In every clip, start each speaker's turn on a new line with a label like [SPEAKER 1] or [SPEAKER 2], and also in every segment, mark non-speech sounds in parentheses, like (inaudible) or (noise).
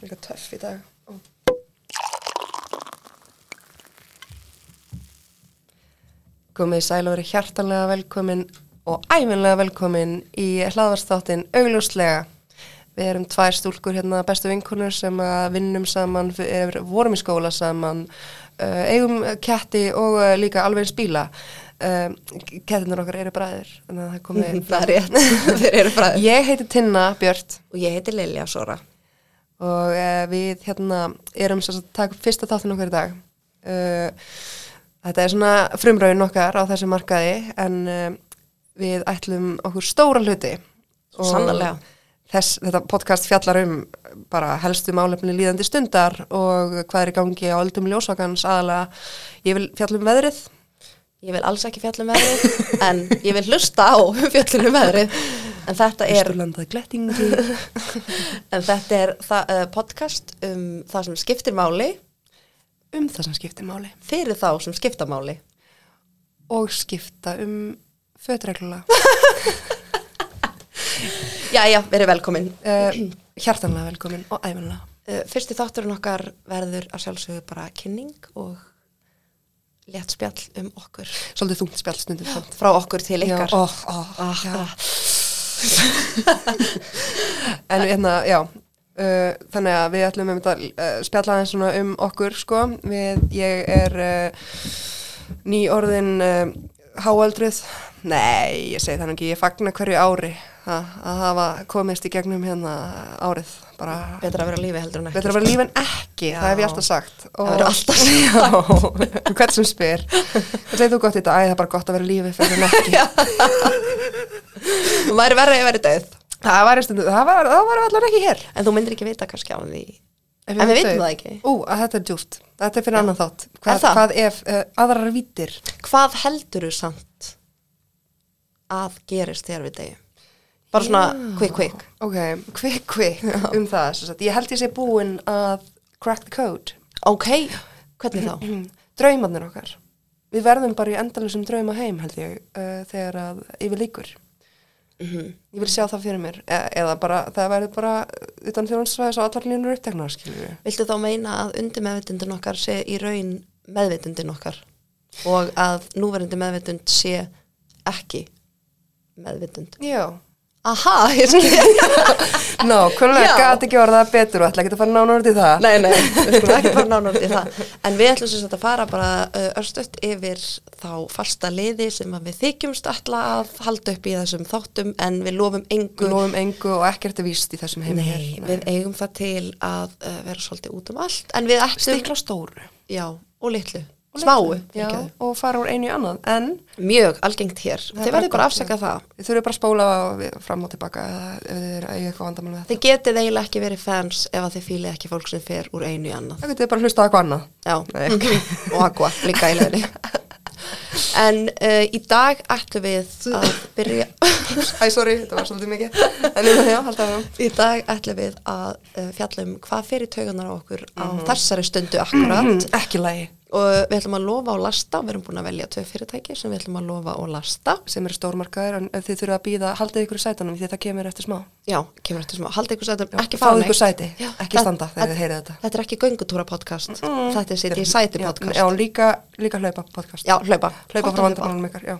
[SPEAKER 1] eitthvað töff í dag Ó. Komið sæl og verið hjartanlega velkomin og æfinlega velkomin í hlaðvarsþáttin augljóslega. Við erum tvær stúlkur hérna bestu vinkunur sem að vinnum saman, er, vorum í skóla saman, uh, eigum ketti og uh, líka alveg eins bíla. Uh, kettinur okkar eru bræður, þannig að það
[SPEAKER 2] (laughs)
[SPEAKER 1] komið.
[SPEAKER 2] Það er rétt, þeir eru fræðir.
[SPEAKER 1] Ég heiti Tinna Björt
[SPEAKER 2] Og ég heiti Lilja Sora.
[SPEAKER 1] og uh, við hérna erum sem sagt að taka upp fyrsta þáttin okkar í dag uh, þetta er svona frumröðin okkar á þessu markaði en uh, við ætlum okkur stóra hluti Og
[SPEAKER 2] Sannarlega.
[SPEAKER 1] þess, þetta podcast fjallar um bara helstu málefni líðandi stundar og hvað er í gangi á öldum ljósvakans aðalega ég vil fjalla um veðrið
[SPEAKER 2] Ég vil alls ekki fjallum veðrið, (laughs) en ég vil hlusta á fjallunum veðrið. En þetta er,
[SPEAKER 1] Ísturlandaði glettingi
[SPEAKER 2] (laughs) en þetta er það, uh, podcast um það sem skiptir máli
[SPEAKER 1] um það sem skiptir máli
[SPEAKER 2] fyrir þá sem skipta máli.
[SPEAKER 1] og skipta um fötreglulega
[SPEAKER 2] Jæja, verið velkomin.
[SPEAKER 1] uh, hjartanlega velkomin og æfinlega
[SPEAKER 2] Uh, fyrsti þátturinn okkar verður að sjálfsögðu bara kynning og létt spjall um okkur.
[SPEAKER 1] svolítið þungt spjall stundum samt.
[SPEAKER 2] Frá okkur til
[SPEAKER 1] Já,
[SPEAKER 2] ykkar.
[SPEAKER 1] ó, ó,
[SPEAKER 2] Ah,
[SPEAKER 1] Oh, já.
[SPEAKER 2] ah.
[SPEAKER 1] en hérna, já uh, þannig að við ætlum um að uh, spjalla aðeins svona um okkur sko. við, ég er uh, ný orðin uh, háaldrið nei, ég segi þannig ekki, ég fagna hverju ári ha, að hafa komist í gegnum hérna árið bara
[SPEAKER 2] Betra að vera á lífi heldur en ekki.
[SPEAKER 1] betra að vera líf en ekki,
[SPEAKER 2] Já.
[SPEAKER 1] það hef ég alltaf sagt
[SPEAKER 2] Það verður
[SPEAKER 1] (laughs)
[SPEAKER 2] alltaf
[SPEAKER 1] sagt já, hvern sem spyr hvað segir þú gott í þetta, æ það er bara gott að vera í lífi fyrir en
[SPEAKER 2] (laughs)
[SPEAKER 1] ekki
[SPEAKER 2] Þú væri verið að vera döð.
[SPEAKER 1] það var, stundu, það var, það var allar ekki hér
[SPEAKER 2] En þú myndir ekki vita kannski á því
[SPEAKER 1] Ef
[SPEAKER 2] En við
[SPEAKER 1] veit
[SPEAKER 2] vitum
[SPEAKER 1] þau-
[SPEAKER 2] það ekki.
[SPEAKER 1] Ú, að þetta er djúft, þetta er fyrir annan þátt
[SPEAKER 2] Er
[SPEAKER 1] Hvað,
[SPEAKER 2] það?
[SPEAKER 1] hvað ef uh, aðrar vítir
[SPEAKER 2] Hvað heldur þú samt að gerist þér við degi? Bara svona quick quick
[SPEAKER 1] Ok, quick quick um það sem sagt. Ég held ég sé búin að crack the code (clears throat)
[SPEAKER 2] Ok, hvernig þá?
[SPEAKER 1] Draumarnir okkar Við verðum bara í endalusum drauma heim held ég uh, þegar að yfir líkur
[SPEAKER 2] Mhm.
[SPEAKER 1] Ég vil sjá það fyrir mér e eða bara, það verður bara utan þjónsvæðis og allar línur uppteknar skilur við
[SPEAKER 2] Viltu þá meina að undir meðvitundin okkar sé í raun meðvitundin okkar og að núverandi meðvitund sé ekki meðvitund
[SPEAKER 1] Já,
[SPEAKER 2] Aha, ég skil
[SPEAKER 1] nákvæmlega
[SPEAKER 2] Já.
[SPEAKER 1] gæti ekki orða það betur og ætla ekki að fara nánar út í það
[SPEAKER 2] (laughs) Nei, nei, við skulum ekki fara nánar út í það En við ætlum sem sagt að fara bara uh, örstuðt yfir þá fasta liði sem að við þykjumst alla að halda upp í þessum þáttum en við lofum engu
[SPEAKER 1] Lofum engu og ekkert er víst í þessum hérna. heim
[SPEAKER 2] Nei, við eigum það til að uh, vera svolítið út um allt en við ætlum,
[SPEAKER 1] stikla á stóru
[SPEAKER 2] já, og litlu
[SPEAKER 1] Og
[SPEAKER 2] smáu,
[SPEAKER 1] litlu, já,
[SPEAKER 2] fyrirgefðu.
[SPEAKER 1] og fara úr einu í annað en
[SPEAKER 2] mjög algengt hér
[SPEAKER 1] er
[SPEAKER 2] þið verður
[SPEAKER 1] bara
[SPEAKER 2] bara
[SPEAKER 1] gott,
[SPEAKER 2] afsaka það
[SPEAKER 1] þið þurfum bara að spóla við- fram og tilbaka eða ef þið er eitthvað vandamál með þetta
[SPEAKER 2] þið getið eiginlega ekki verið fans ef að þið fílið ekki fólk sem fer úr einu í annað
[SPEAKER 1] þá getið þið bara að hlusta á eitthvað annað
[SPEAKER 2] já,
[SPEAKER 1] Nei, ok.
[SPEAKER 2] og aqua líka í leðinni en uh, í dag ætlum við að byrja (laughs)
[SPEAKER 1] Æ, sorry, þetta var svolítið mikið en ég, já, haldið að
[SPEAKER 2] Í dag ætlum við að uh, fjalla um hvað fyrir taugunar á okkur á
[SPEAKER 1] Mhm.
[SPEAKER 2] þessari stundu akkurat
[SPEAKER 1] ekki lægi
[SPEAKER 2] og við ætlum að lofa og lasta, við erum búin að velja tvei fyrirtæki sem við ætlum að lofa og lasta
[SPEAKER 1] sem eru stórmarkaðir en þið þurfum að býða haldið ykkur í sætanum því það kemur eftir smá
[SPEAKER 2] já, kemur eftir smá, haldið ykkur sætum, ekki fara
[SPEAKER 1] fáðu
[SPEAKER 2] neitt.
[SPEAKER 1] ykkur sæti,
[SPEAKER 2] Já,
[SPEAKER 1] ekki
[SPEAKER 2] það-
[SPEAKER 1] standa þegar þið heyrið þetta Mm. hérna-
[SPEAKER 2] þetta er ekki göngutúra podcast þetta er sitt í sæti podcast
[SPEAKER 1] já, líka, líka hlaupa podcast
[SPEAKER 2] já, hlaupa,
[SPEAKER 1] hlaupa frá
[SPEAKER 2] Komdu
[SPEAKER 1] vandamálum ykkar já.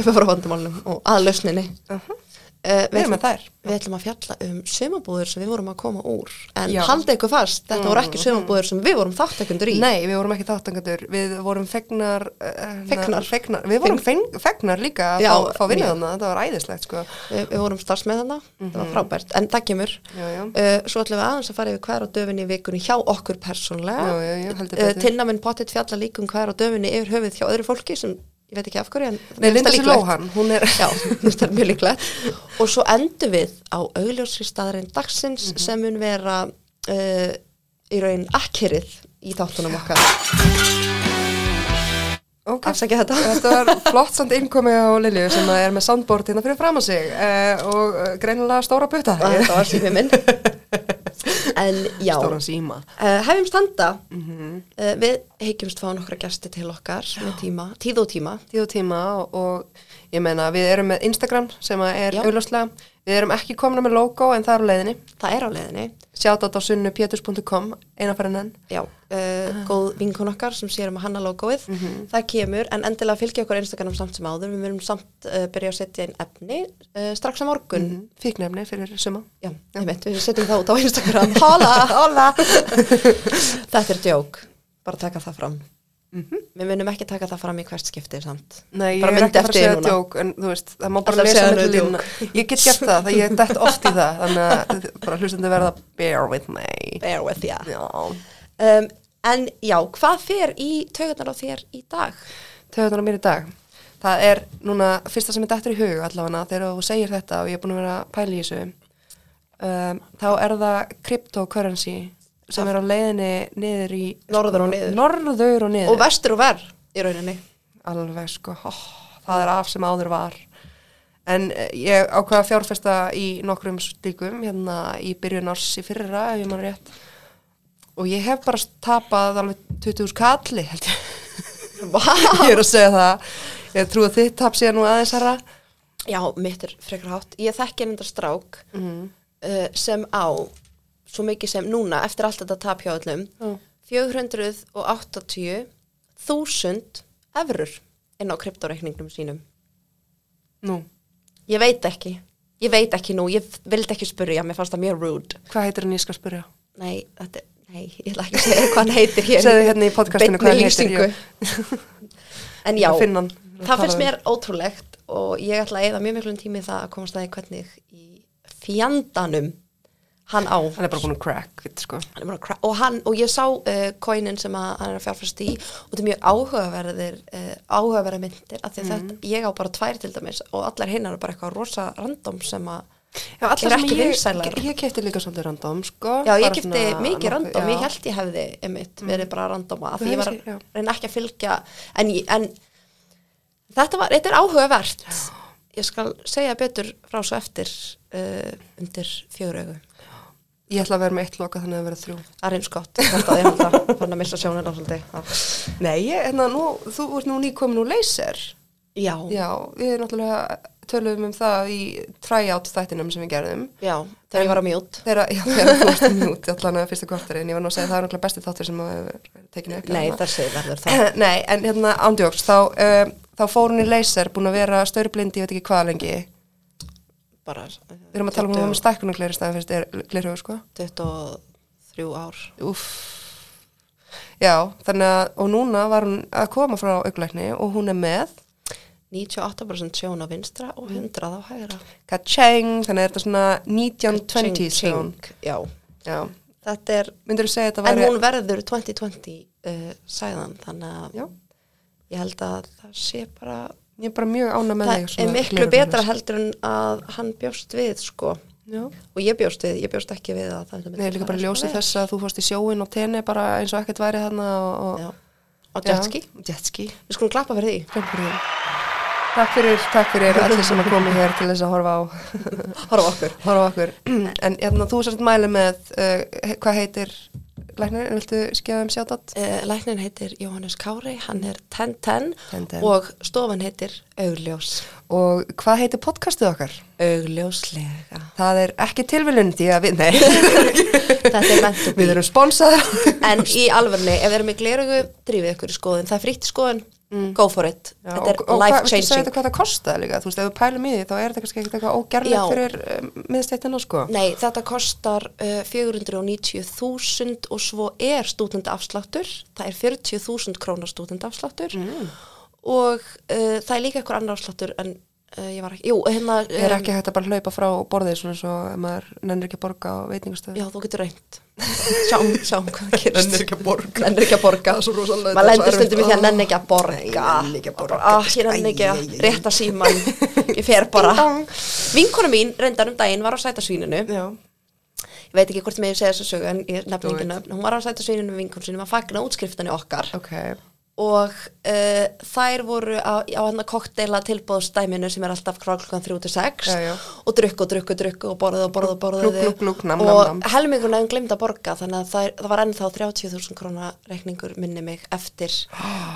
[SPEAKER 2] hlaupa frá vandamálunum og aðlausninni
[SPEAKER 1] Uh -huh.
[SPEAKER 2] uh,
[SPEAKER 1] við erum með þær
[SPEAKER 2] Við ætlum að fjalla um sömabúður sem við vorum að koma úr
[SPEAKER 1] Já.
[SPEAKER 2] en
[SPEAKER 1] Mm-hmm.
[SPEAKER 2] haldið ykkur fast, þetta voru ekki sömabúður sem við vorum þáttakundur í
[SPEAKER 1] Nei, við vorum ekki þáttangandur, við vorum fegnar, uh,
[SPEAKER 2] Fegnar.
[SPEAKER 1] fegnar Við vorum feng, fegnar líka að
[SPEAKER 2] Já,
[SPEAKER 1] fá, fá vinnu
[SPEAKER 2] mjög.
[SPEAKER 1] þarna, þetta var æðislegt sko.
[SPEAKER 2] við, við vorum starfsmeð þarna, það var frábært en það kemur,
[SPEAKER 1] Mm-hmm. Já, já.
[SPEAKER 2] Uh, svo ætlum við aðeins að fara yfir hver á döfinni í vikunni hjá okkur persónlega
[SPEAKER 1] Já, já, já, heldur
[SPEAKER 2] uh,
[SPEAKER 1] betur.
[SPEAKER 2] tilnæminn potið fjalla líka um hver á döfinni yfir höfuð hjá öðru fólki sem ég veit ekki af hverju en
[SPEAKER 1] Nei,
[SPEAKER 2] mér
[SPEAKER 1] Linda
[SPEAKER 2] finnst það
[SPEAKER 1] sér
[SPEAKER 2] líklegt.
[SPEAKER 1] Lóhan, hún
[SPEAKER 2] (laughs)
[SPEAKER 1] er
[SPEAKER 2] Já, mér finnst það mjög líklegt og svo endum við á augljósri staðarinn dagsins
[SPEAKER 1] Mhm.
[SPEAKER 2] sem mun vera uh, í raun akkerið í þáttunum okkar
[SPEAKER 1] okay.
[SPEAKER 2] afsækja þetta
[SPEAKER 1] Þetta var flott samt innkomi á Lilju sem að er með soundboard hérna fyrir fram á sig uh, og uh, greinilega stóra putta
[SPEAKER 2] þetta var sífið minn (laughs) en já
[SPEAKER 1] Stóran Mhm. síma
[SPEAKER 2] Uh, hefjum standa uh, við hyggjumst fá nokkra gesti til okkar með tíma, tíð og tíma
[SPEAKER 1] Tíð og tíma og, og ég meina við erum með Instagram sem að er
[SPEAKER 2] Já.
[SPEAKER 1] auðljóslega Við erum ekki komna með logo en það er á leiðinni.
[SPEAKER 2] Það er á leiðinni.
[SPEAKER 1] Sjátat á sunnupétus.com, einanfærin enn.
[SPEAKER 2] Já, uh, góð vinkun okkar sem sér um að hanna logoið, það kemur en endilega fylgja okkur Instagram samt sem áður við verum samt uh, byrja að setja inn efni uh, strax á morgun
[SPEAKER 1] Mhm. Fíknefni fyrir suma.
[SPEAKER 2] Já, ég veit, við setjum það út á Instagram
[SPEAKER 1] (laughs)
[SPEAKER 2] Hola, hola Þetta er djók, bara taka það fram Við munum ekki taka það fram í hvert skipti samt
[SPEAKER 1] Nei,
[SPEAKER 2] Bara
[SPEAKER 1] ég er
[SPEAKER 2] myndi
[SPEAKER 1] ekki að fara að
[SPEAKER 2] eftir
[SPEAKER 1] segja
[SPEAKER 2] núna.
[SPEAKER 1] djók, en þú veist, það má bara
[SPEAKER 2] Ætlar að
[SPEAKER 1] lesa
[SPEAKER 2] segja
[SPEAKER 1] með
[SPEAKER 2] það
[SPEAKER 1] línuna. Ég get gert það, það ég er dætt oft í það, þannig að
[SPEAKER 2] (laughs)
[SPEAKER 1] þið- bara hlustandi verða bear with me.
[SPEAKER 2] Bear with ya
[SPEAKER 1] Já.
[SPEAKER 2] um, En já, hvað fer í taugarnar á þér í dag?
[SPEAKER 1] Töðunar á mér í dag. Það er núna fyrsta sem er dættur í hug allavega þegar þú segir þetta og ég er búin að vera að pæla í þessu. Um, þá er það cryptocurrency sem er á leiðinni niður í...
[SPEAKER 2] Norður og niður.
[SPEAKER 1] Norður og niður.
[SPEAKER 2] Og vestur og verð í rauninni
[SPEAKER 1] alveg sko, ó, það er af sem áður var en eh, ég ákvaða að fjárfesta í nokkrum stíkum hérna í byrjun árs í fyrra ef ég mann rétt og ég hef bara tapað alveg 20.000 kalli held
[SPEAKER 2] (laughs)
[SPEAKER 1] ég ég er að segja það ég trú að þitt tap síðan nú aðeins herra
[SPEAKER 2] Já, mitt er frekar hátt. Ég þekki einhundar strák uh, sem á, svo mikið sem núna, eftir allt þetta tap hjá öllum,
[SPEAKER 1] Já.
[SPEAKER 2] 480.000 evrur inn á kryptoreikningnum sínum.
[SPEAKER 1] nú,
[SPEAKER 2] Ég veit ekki. Ég veit ekki nú, ég vildi ekki spyrja, mér fannst það mjög rude.
[SPEAKER 1] hvað heitir hann ég skal spyrja
[SPEAKER 2] Nei, þetta, nei, ég ætla ekki að (laughs) segja hvað hann heitir hér.
[SPEAKER 1] segðu hérna í podcastinu hvað hann heitir
[SPEAKER 2] Beinni
[SPEAKER 1] ég,
[SPEAKER 2] lýsingu. (laughs) en
[SPEAKER 1] Ég
[SPEAKER 2] já,
[SPEAKER 1] er að finna hann. um-
[SPEAKER 2] það finnst mér ótrúlegt og ég ætla að eða mjög miklum tími í það að komast aðeins hvernig í fjandanum hann á
[SPEAKER 1] hann er bara búin að crack it, sko.
[SPEAKER 2] Hann er bara að kra- og, hann, og ég sá uh, coinin sem að, hann er að fjárfæst í og þetta er mjög áhugaverðir uh, áhugaverðar myndir af því
[SPEAKER 1] Mm.
[SPEAKER 2] að þetta, ég á bara tvær til dæmis og allar hinnar eru bara eitthvað rosa random sem að
[SPEAKER 1] Já, allar
[SPEAKER 2] Eru
[SPEAKER 1] sem
[SPEAKER 2] ekki
[SPEAKER 1] ég-
[SPEAKER 2] vinsælar.
[SPEAKER 1] ég, ég kefti líka svolítið random sko.
[SPEAKER 2] Já, ég
[SPEAKER 1] Bara
[SPEAKER 2] kipti
[SPEAKER 1] svona
[SPEAKER 2] mikið
[SPEAKER 1] nokkuð-
[SPEAKER 2] random,
[SPEAKER 1] já. Mm.
[SPEAKER 2] ég held ég hefði einmitt verið bara randoma af
[SPEAKER 1] Þú
[SPEAKER 2] því ég var
[SPEAKER 1] hefðir- já.
[SPEAKER 2] að reyna ekki að fylgja en, ég- en þetta var, þetta er áhugavert ég skal segja betur frá svo eftir uh, undir fjörögu
[SPEAKER 1] Ég ætla að vera með eitt loka þannig að vera þrjú.
[SPEAKER 2] það er eins gott, þetta er alltaf fann að missa sjónina svolítið Já.
[SPEAKER 1] Nei, ég, hérna, nú, þú ert nú nýkomin úr leyser.
[SPEAKER 2] Já,
[SPEAKER 1] Já, við náttúrulega töluðum um það í tryout þættinum sem við gerðum.
[SPEAKER 2] já, þegar ég var að mjút
[SPEAKER 1] Þegar, já, þegar þú varst mjút, allan að fyrsta kvartarinn, ég var nú að segja það er náttúrulega besti þáttur sem maður hefur tekinu upp.
[SPEAKER 2] Nei,
[SPEAKER 1] hérna.
[SPEAKER 2] þessi verður
[SPEAKER 1] (coughs)
[SPEAKER 2] það
[SPEAKER 1] (clears throat) Nei, en hérna ándjóks, þá, um, þá fór hún í leyser, búin að vera staurublindi, ég veit ekki hvað lengi.
[SPEAKER 2] bara
[SPEAKER 1] Við erum að tala um að hún var með stækkunum gleru staðan fyrst gleru, sko.
[SPEAKER 2] 23 ár
[SPEAKER 1] Úff. Já, þannig að, og núna var hún að koma frá auglækni og hún er með
[SPEAKER 2] 98% sjón á vinstra og 100 á hægra
[SPEAKER 1] Kacheng, þannig er þetta svona 1920s
[SPEAKER 2] Ching,
[SPEAKER 1] tón.
[SPEAKER 2] ching, Já,
[SPEAKER 1] Já,
[SPEAKER 2] þetta er
[SPEAKER 1] myndur þú segja að þetta
[SPEAKER 2] En
[SPEAKER 1] væri...
[SPEAKER 2] hún verður 2020 uh, sæðan, þannig að
[SPEAKER 1] Já.
[SPEAKER 2] ég held að það sé bara,
[SPEAKER 1] Ég er bara mjög ána með þig.
[SPEAKER 2] það er
[SPEAKER 1] svona
[SPEAKER 2] miklu
[SPEAKER 1] gleraugun
[SPEAKER 2] betra
[SPEAKER 1] hans.
[SPEAKER 2] heldur en að hann bjóst við, sko.
[SPEAKER 1] Já.
[SPEAKER 2] Og ég bjóst við, ég bjóst ekki við að það myndi
[SPEAKER 1] Nei, líka bara
[SPEAKER 2] fara
[SPEAKER 1] ljósið
[SPEAKER 2] svona
[SPEAKER 1] þess að þú fórst í sjóin og tenni bara eins og ekkert væri þarna og...
[SPEAKER 2] vel.
[SPEAKER 1] og
[SPEAKER 2] Já, á jetski.
[SPEAKER 1] sko. Já, Jetski.
[SPEAKER 2] Við skulum klappa fyrir því.
[SPEAKER 1] Klömpur þig. Takk fyrir, takk fyrir allir sem að komi hér til þess að horfa á,
[SPEAKER 2] (laughs) Horfa á okkur.
[SPEAKER 1] horfa á
[SPEAKER 2] (clears throat)
[SPEAKER 1] okkur. En hérna, þú sért mæli með, uh, he- hvað heitir læknir, viltu skjáða um sjátat?
[SPEAKER 2] Uh, læknin heitir Jóhannes Kári, hann er 1010
[SPEAKER 1] 10 10.
[SPEAKER 2] og stofan heitir Augljós.
[SPEAKER 1] Og hvað heitir podcastið okkar?
[SPEAKER 2] Augljóslega.
[SPEAKER 1] Það er ekki tilviljun því að við, nei, (laughs)
[SPEAKER 2] Þetta er mentu
[SPEAKER 1] við erum sponsaðar.
[SPEAKER 2] En í alvörni, ef við erum í glerugu, drífið ykkur í skoðun. Það er frítt í skoðun, go for it.
[SPEAKER 1] Mm. Já,
[SPEAKER 2] (laughs) þetta er
[SPEAKER 1] og- og
[SPEAKER 2] life
[SPEAKER 1] hvað- viltu segja
[SPEAKER 2] changing.
[SPEAKER 1] þetta hvað það kostar líka, þú veist, ef við pælum í því þá er þetta kannski ekkert eitthvað ógerlegt
[SPEAKER 2] Já.
[SPEAKER 1] fyrir um, miðstættina sko.
[SPEAKER 2] Nei, þetta kostar uh, 490.000 og svo er stúdendafsláttur, það er 40.000 krónar stúdendafsláttur
[SPEAKER 1] Mm.
[SPEAKER 2] og uh, það er líka eitthvað annar afsláttur en uh, ég var ekki, jú, hérna,
[SPEAKER 1] Er
[SPEAKER 2] um,
[SPEAKER 1] ekki hægt að bara hlaupa frá borðið svona svo ef maður nennir ekki að borga á veitingastöðu?
[SPEAKER 2] já, þú getur reynd, sjáum, sjáum hvað gerist.
[SPEAKER 1] ekki að borga.
[SPEAKER 2] Nenn ekki að borga.
[SPEAKER 1] Það er svo rosalega-
[SPEAKER 2] Maður
[SPEAKER 1] það er
[SPEAKER 2] lendur
[SPEAKER 1] svo
[SPEAKER 2] stundum í því að
[SPEAKER 1] erfitt. Ah.
[SPEAKER 2] nenn ekki að borga.
[SPEAKER 1] Nei, ég nenni ekki að borga.
[SPEAKER 2] Ah, ég nenn ekki
[SPEAKER 1] Æ, æ,
[SPEAKER 2] að
[SPEAKER 1] æ, æ.
[SPEAKER 2] rétta síman. Ég fer bara.
[SPEAKER 1] Ding dong.
[SPEAKER 2] Vinkona mín, reyndar um daginn, var á sætasvíninu.
[SPEAKER 1] Já,
[SPEAKER 2] ég veit ekki hvort ég megi segja þessu sögu en ég nefnir
[SPEAKER 1] Þú
[SPEAKER 2] engin
[SPEAKER 1] veit.
[SPEAKER 2] nöfn, hún var á sæta sveininu við vinkun sínum að fagna útskriftinni okkar
[SPEAKER 1] ok.
[SPEAKER 2] og uh, þær voru á, á hann að kokteila tilbóðstæminu sem er alltaf frá klukkan 3 til 6
[SPEAKER 1] Já, já.
[SPEAKER 2] og drukku og drukku, drukku og borðið og borðið og borðið
[SPEAKER 1] Glúk, glúk, glúk, nam, nam, nam.
[SPEAKER 2] og helminguna hefum glemt að
[SPEAKER 1] (gasps)
[SPEAKER 2] borga þannig að þær, það var ennþá 30.000 krónar reikningur minni mig eftir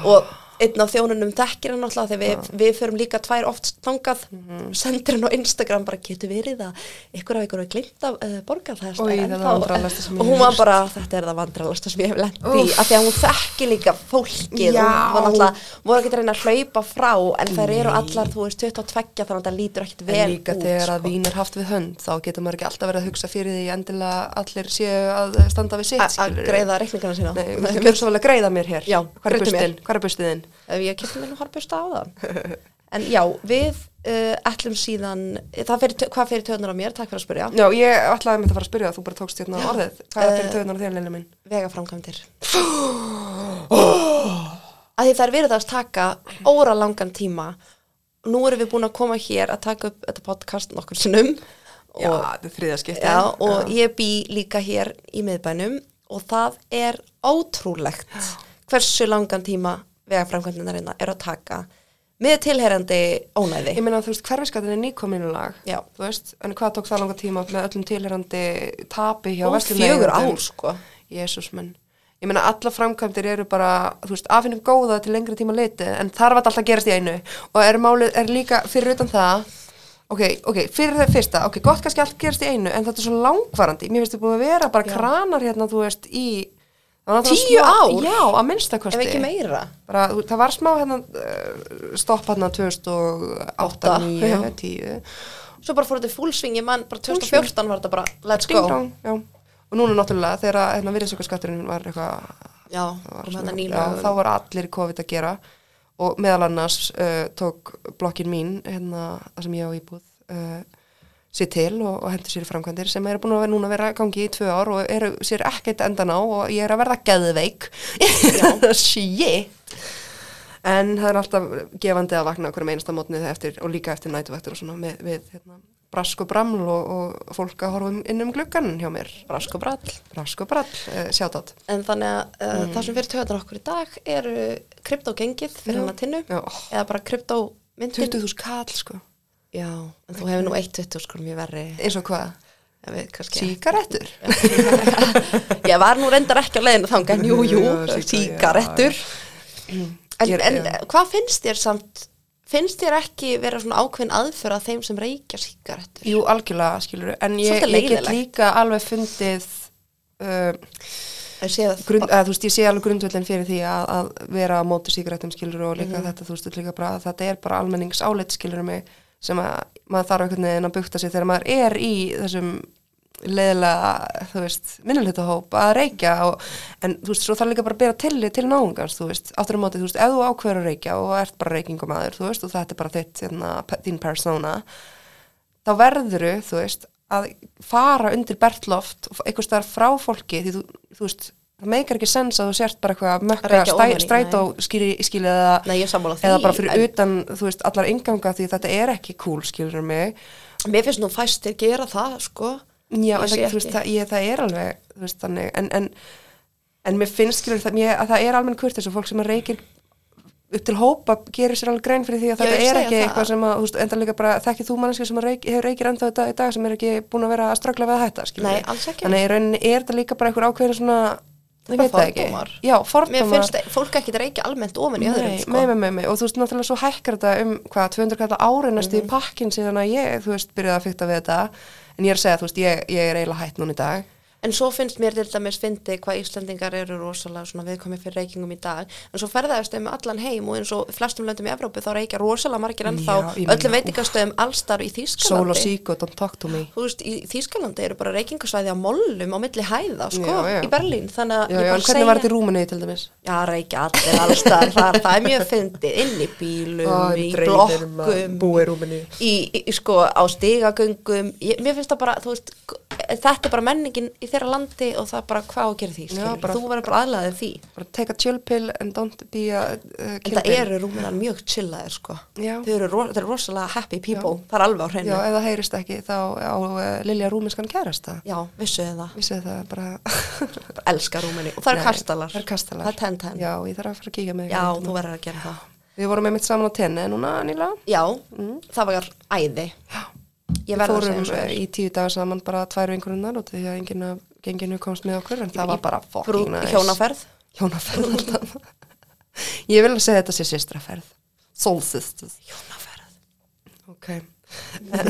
[SPEAKER 2] og einn af þjónunum þekkir hann alltaf þegar við, við förum líka tvær oft þangað
[SPEAKER 1] Mhm.
[SPEAKER 2] sendir hann á Instagram bara getur verið að ykkur af ykkur hafi glimt af uh, borgar
[SPEAKER 1] Oj,
[SPEAKER 2] það er
[SPEAKER 1] það er
[SPEAKER 2] ennþá-
[SPEAKER 1] vandralasta sem ég
[SPEAKER 2] og
[SPEAKER 1] hef
[SPEAKER 2] hún var bara þetta er það vandralasta sem ég hef lent í
[SPEAKER 1] Úff.
[SPEAKER 2] af því að hún þekkir líka fólkið
[SPEAKER 1] Já.
[SPEAKER 2] og hún var alltaf, voru ekki að reyna að hlaupa frá en þær eru allar, þú veist, 22 þannig að það lítur ekkit vel
[SPEAKER 1] en líka
[SPEAKER 2] út
[SPEAKER 1] þegar
[SPEAKER 2] sko.
[SPEAKER 1] að vín er haft við hönd þá getur maður ekki alltaf verið að hugsa fyrir því endilega allir séu að standa við sitt
[SPEAKER 2] A- að
[SPEAKER 1] skilurðu.
[SPEAKER 2] greiða reikningana sína
[SPEAKER 1] Nei, við getum svo vel að greiða mér hér
[SPEAKER 2] Já,
[SPEAKER 1] Hvar er
[SPEAKER 2] greiddu mér.
[SPEAKER 1] bustin? Hvar er bustiðin?
[SPEAKER 2] Ef ég kipti mér nú harpusta á
[SPEAKER 1] (laughs)
[SPEAKER 2] það. En já, við uh, ætlum síðan, það fyrir, tau- hvað fyrir töðunar á mér, takk fyrir að spyrja,
[SPEAKER 1] Já, ég ætlaði með það fara að spyrja það, þú bara tókst hérna orðið Hvað er fyrir
[SPEAKER 2] Eh,
[SPEAKER 1] töðunar þér, Lilja mín? (gasps)
[SPEAKER 2] vegaframkvæmdir. að því það er verið að taka óra langan tíma. Nú erum við búin að koma hér að taka upp þetta podcast nokkur sinnum.
[SPEAKER 1] Já,
[SPEAKER 2] og-
[SPEAKER 1] þetta er þriðja skipti
[SPEAKER 2] Já, og ég bý líka hér í miðbænum og það er ótrúlegt hversu langan tíma vegaframkvæmdinarinnar er að taka með tilherandi ónæði.
[SPEAKER 1] Ég meina, þú veist, hverfiskatinn er nýkominu lag
[SPEAKER 2] Já.
[SPEAKER 1] Þú veist, en hvað tók það langa tíma með öllum tilherandi tapi hjá
[SPEAKER 2] Ó,
[SPEAKER 1] verslunareigendum?
[SPEAKER 2] fjögur ár, sko.
[SPEAKER 1] Jesús minn Ég meina, alla framkvæmdir eru bara, þú veist, af hennum góða til lengri tíma liti En þar var þetta alltaf að gerast í einu Og er málið, er líka fyrir utan það Ok, ok, fyrir það fyrsta, ok, gott kannski allt gerast í einu En þetta er svo langvarandi Mér finnst þið búið að vera bara
[SPEAKER 2] Já.
[SPEAKER 1] kranar hérna, þú veist, í það var náttúrulega
[SPEAKER 2] Tíu
[SPEAKER 1] smá-
[SPEAKER 2] ár?
[SPEAKER 1] Já, að minnstakosti
[SPEAKER 2] Ef ekki meira.
[SPEAKER 1] bara, þú- það var smá hérna eh, stopp hérna 2008,
[SPEAKER 2] Átta,
[SPEAKER 1] 2009,
[SPEAKER 2] já.
[SPEAKER 1] 10
[SPEAKER 2] svo bara fór þetta í fullsvingi mann bara
[SPEAKER 1] Full
[SPEAKER 2] 2014 var þetta bara let's
[SPEAKER 1] ding
[SPEAKER 2] go
[SPEAKER 1] dong, Sko, já og núna náttúrulega þegar að, hérna virðisaukaskatturinn var eitthvað
[SPEAKER 2] já,
[SPEAKER 1] það var
[SPEAKER 2] kom
[SPEAKER 1] svona-
[SPEAKER 2] þetta
[SPEAKER 1] já,
[SPEAKER 2] nýla
[SPEAKER 1] þá var allir í COVID að gera og meðal annars uh, tók blokkin mín hérna, það sem ég á íbúð uh, sér til og, og hendur sér í framkvæmdir sem eru búin að vera núna að vera gangi í tvö ár og eru sér ekkert endan á og ég er að verða geðveik (laughs) shit en það er alltaf gefandi að vakna okkur einasta mótnið eftir og líka eftir nætuvektur og svona með, við hérna, brask og braml og, og fólk að horfa um- inn um gluggan hjá mér
[SPEAKER 2] rask og brall
[SPEAKER 1] brask og brall, uh, sjátátt
[SPEAKER 2] en þannig að uh,
[SPEAKER 1] Mm.
[SPEAKER 2] það sem fyrir töðan okkur í dag eru kryptógengið fyrir
[SPEAKER 1] Já.
[SPEAKER 2] hann að tinnu
[SPEAKER 1] Já.
[SPEAKER 2] eða bara kryptómyndin
[SPEAKER 1] 20.000 kall sko
[SPEAKER 2] já, en þú hefur nú 1.20 sko mjög verri
[SPEAKER 1] eins og hvað?
[SPEAKER 2] ég veit kannski
[SPEAKER 1] Síkarettur?
[SPEAKER 2] ég var nú reyndar ekki á leiðinu þanga en jú, jú,
[SPEAKER 1] Já, sígarettur,
[SPEAKER 2] síkarettur en,
[SPEAKER 1] Ég er-
[SPEAKER 2] en
[SPEAKER 1] já.
[SPEAKER 2] hvað finnst þér samt finnst þér ekki vera svona ákveðin aðför að þeim sem reykja síkarettur
[SPEAKER 1] Jú, algjörlega, skilur en ég, ég
[SPEAKER 2] Svolítið
[SPEAKER 1] get
[SPEAKER 2] leiðinlegt.
[SPEAKER 1] líka alveg fundið uh,
[SPEAKER 2] ég sé að
[SPEAKER 1] grund, að, þú veist, ég sé alveg grundvöldin fyrir því að, að vera á móti sígarettum skilur og
[SPEAKER 2] Mhm.
[SPEAKER 1] líka þetta, þú veist, líka bara að þetta er bara almennings áleitt skilur mig sem að maður þarf einhvern veginn að bukta sig þegar maður er í þessum leiðilega, þú veist, minnulitahóp að reykja og, en þú veist, svo þarf líka bara að bera tillit til náungans, þú veist, áttur á móti, þú veist, ef þú ákveður að reykja og ert bara reykingumæður, þú veist, og þetta er bara þitt, hérna, pe- þín persóna, þá verður þú veist, að fara undir bertloft og einhvers staðar frá fólki því þú, þú veist, það meikar ekki sens að þú sért bara eitthvað að mökka
[SPEAKER 2] Reykja
[SPEAKER 1] stæ,
[SPEAKER 2] ofan í,
[SPEAKER 1] strætó skýri, skýri eða,
[SPEAKER 2] Nei, ég er sammála því,
[SPEAKER 1] eða bara fyrir
[SPEAKER 2] en-
[SPEAKER 1] utan þú veist, allar ynganga því þetta er ekki cool skilur mig
[SPEAKER 2] Mér finnst nú fæstir gera það, sko.
[SPEAKER 1] Já,
[SPEAKER 2] Ég
[SPEAKER 1] en
[SPEAKER 2] sé
[SPEAKER 1] það, þú veist, það, ég, það er alveg þú veist, þannig, en, en, en mér finnst skilur það, mér, að það er almenn kurtis og fólk sem að reykir upp til hópa gerir sér alveg grein fyrir því að
[SPEAKER 2] Já, ég
[SPEAKER 1] þetta
[SPEAKER 2] vil
[SPEAKER 1] er
[SPEAKER 2] segja
[SPEAKER 1] ekki
[SPEAKER 2] það.
[SPEAKER 1] eitthvað sem að, þú veist, enda líka bara þekkið þú mannskið sem að reik, hefur reykir ennþá þetta í dag sem er ekki búin að vera að ströggla við að hætta, skilur
[SPEAKER 2] Nei, alls ekki.
[SPEAKER 1] Þannig í rauninni er þetta líka bara einhver ákveðin svona, ég
[SPEAKER 2] bara
[SPEAKER 1] veit það ekki
[SPEAKER 2] fordómar.
[SPEAKER 1] Já,
[SPEAKER 2] Mér
[SPEAKER 1] fordómar
[SPEAKER 2] finnst fólk ekki reykja almennt ofan í öðrum,
[SPEAKER 1] Nei,
[SPEAKER 2] sko.
[SPEAKER 1] nei, nei, nei, nei, og þú veist, náttúrulega svo hækkar þetta um hvað, 200 kallar ári næstu
[SPEAKER 2] Mhm.
[SPEAKER 1] í pakkin síðan að ég, þú veist, byrjaði að fykta við þetta en ég er að segja, þú veist, ég, ég er eiginlega hætt núna í dag
[SPEAKER 2] En svo finnst mér til dæmis fyndi hvað Íslandingar eru rosalega svona viðkomið fyrir reykingum í dag. En svo ferðaðist um allan heim og eins og í flestum löndum í Evrópu þá reykja rosalega margir ennþá
[SPEAKER 1] Já, ég meina,
[SPEAKER 2] öllum veitingastöðum allstar í Þýskalandi.
[SPEAKER 1] Sól og sík og don't talk to me
[SPEAKER 2] Þú veist, í Þýskalandi eru bara reykingasvæði á mollum á milli hæða, sko,
[SPEAKER 1] Já, já.
[SPEAKER 2] í Berlín. Þannig að
[SPEAKER 1] Já,
[SPEAKER 2] ég
[SPEAKER 1] já,
[SPEAKER 2] bara
[SPEAKER 1] en hvernig var þetta í rúminu til dæmis?
[SPEAKER 2] Já, reykja allir allstar þar. Það er mjög fyndið inn í bílum, í blokkum,
[SPEAKER 1] Búi rúminu
[SPEAKER 2] í, í, í sko á stigagöngum ég, mér finnst það bara, þú veist g- þetta er bara menningin í þeirra landi og það er bara hvað á að gera því, skilur,
[SPEAKER 1] bara-
[SPEAKER 2] þú verður bara aðlaðið því
[SPEAKER 1] Bara take a chill pill and don't be a uh,
[SPEAKER 2] en
[SPEAKER 1] kill
[SPEAKER 2] það
[SPEAKER 1] pill.
[SPEAKER 2] eru rúminan mjög chillaðir sko
[SPEAKER 1] Já.
[SPEAKER 2] þau eru, ro- þau eru rosalega happy people það er alveg á hreinu,
[SPEAKER 1] Já,
[SPEAKER 2] já,
[SPEAKER 1] ef það heyrist ekki, þá á uh, Lilja rúminskan kærasta
[SPEAKER 2] vissuðu það
[SPEAKER 1] Vissu það
[SPEAKER 2] (laughs)
[SPEAKER 1] bara
[SPEAKER 2] Bara elska rúmini, og það
[SPEAKER 1] Nei,
[SPEAKER 2] eru kastalar
[SPEAKER 1] Það eru kastalar
[SPEAKER 2] það er ten-ten,
[SPEAKER 1] Já, ég þarf að fara að kíka með
[SPEAKER 2] já,
[SPEAKER 1] ykkur.
[SPEAKER 2] þú verður að gera það
[SPEAKER 1] Við vorum einmitt saman á tenni núna, nýlega
[SPEAKER 2] já, það var æði ég
[SPEAKER 1] Við
[SPEAKER 2] verður að
[SPEAKER 1] fórum
[SPEAKER 2] segja svo
[SPEAKER 1] eh,
[SPEAKER 2] er.
[SPEAKER 1] í tíu dagar saman bara tvær vingurinnar og því að enginn af genginu komst með okkur en það var bara
[SPEAKER 2] Brú-
[SPEAKER 1] fucking nice.
[SPEAKER 2] hjónaferð
[SPEAKER 1] Hjónaferð alltaf. Ég vil að segja þetta sé sýstraferð. Soul sisters.
[SPEAKER 2] Hjónaferð.
[SPEAKER 1] Ok. En,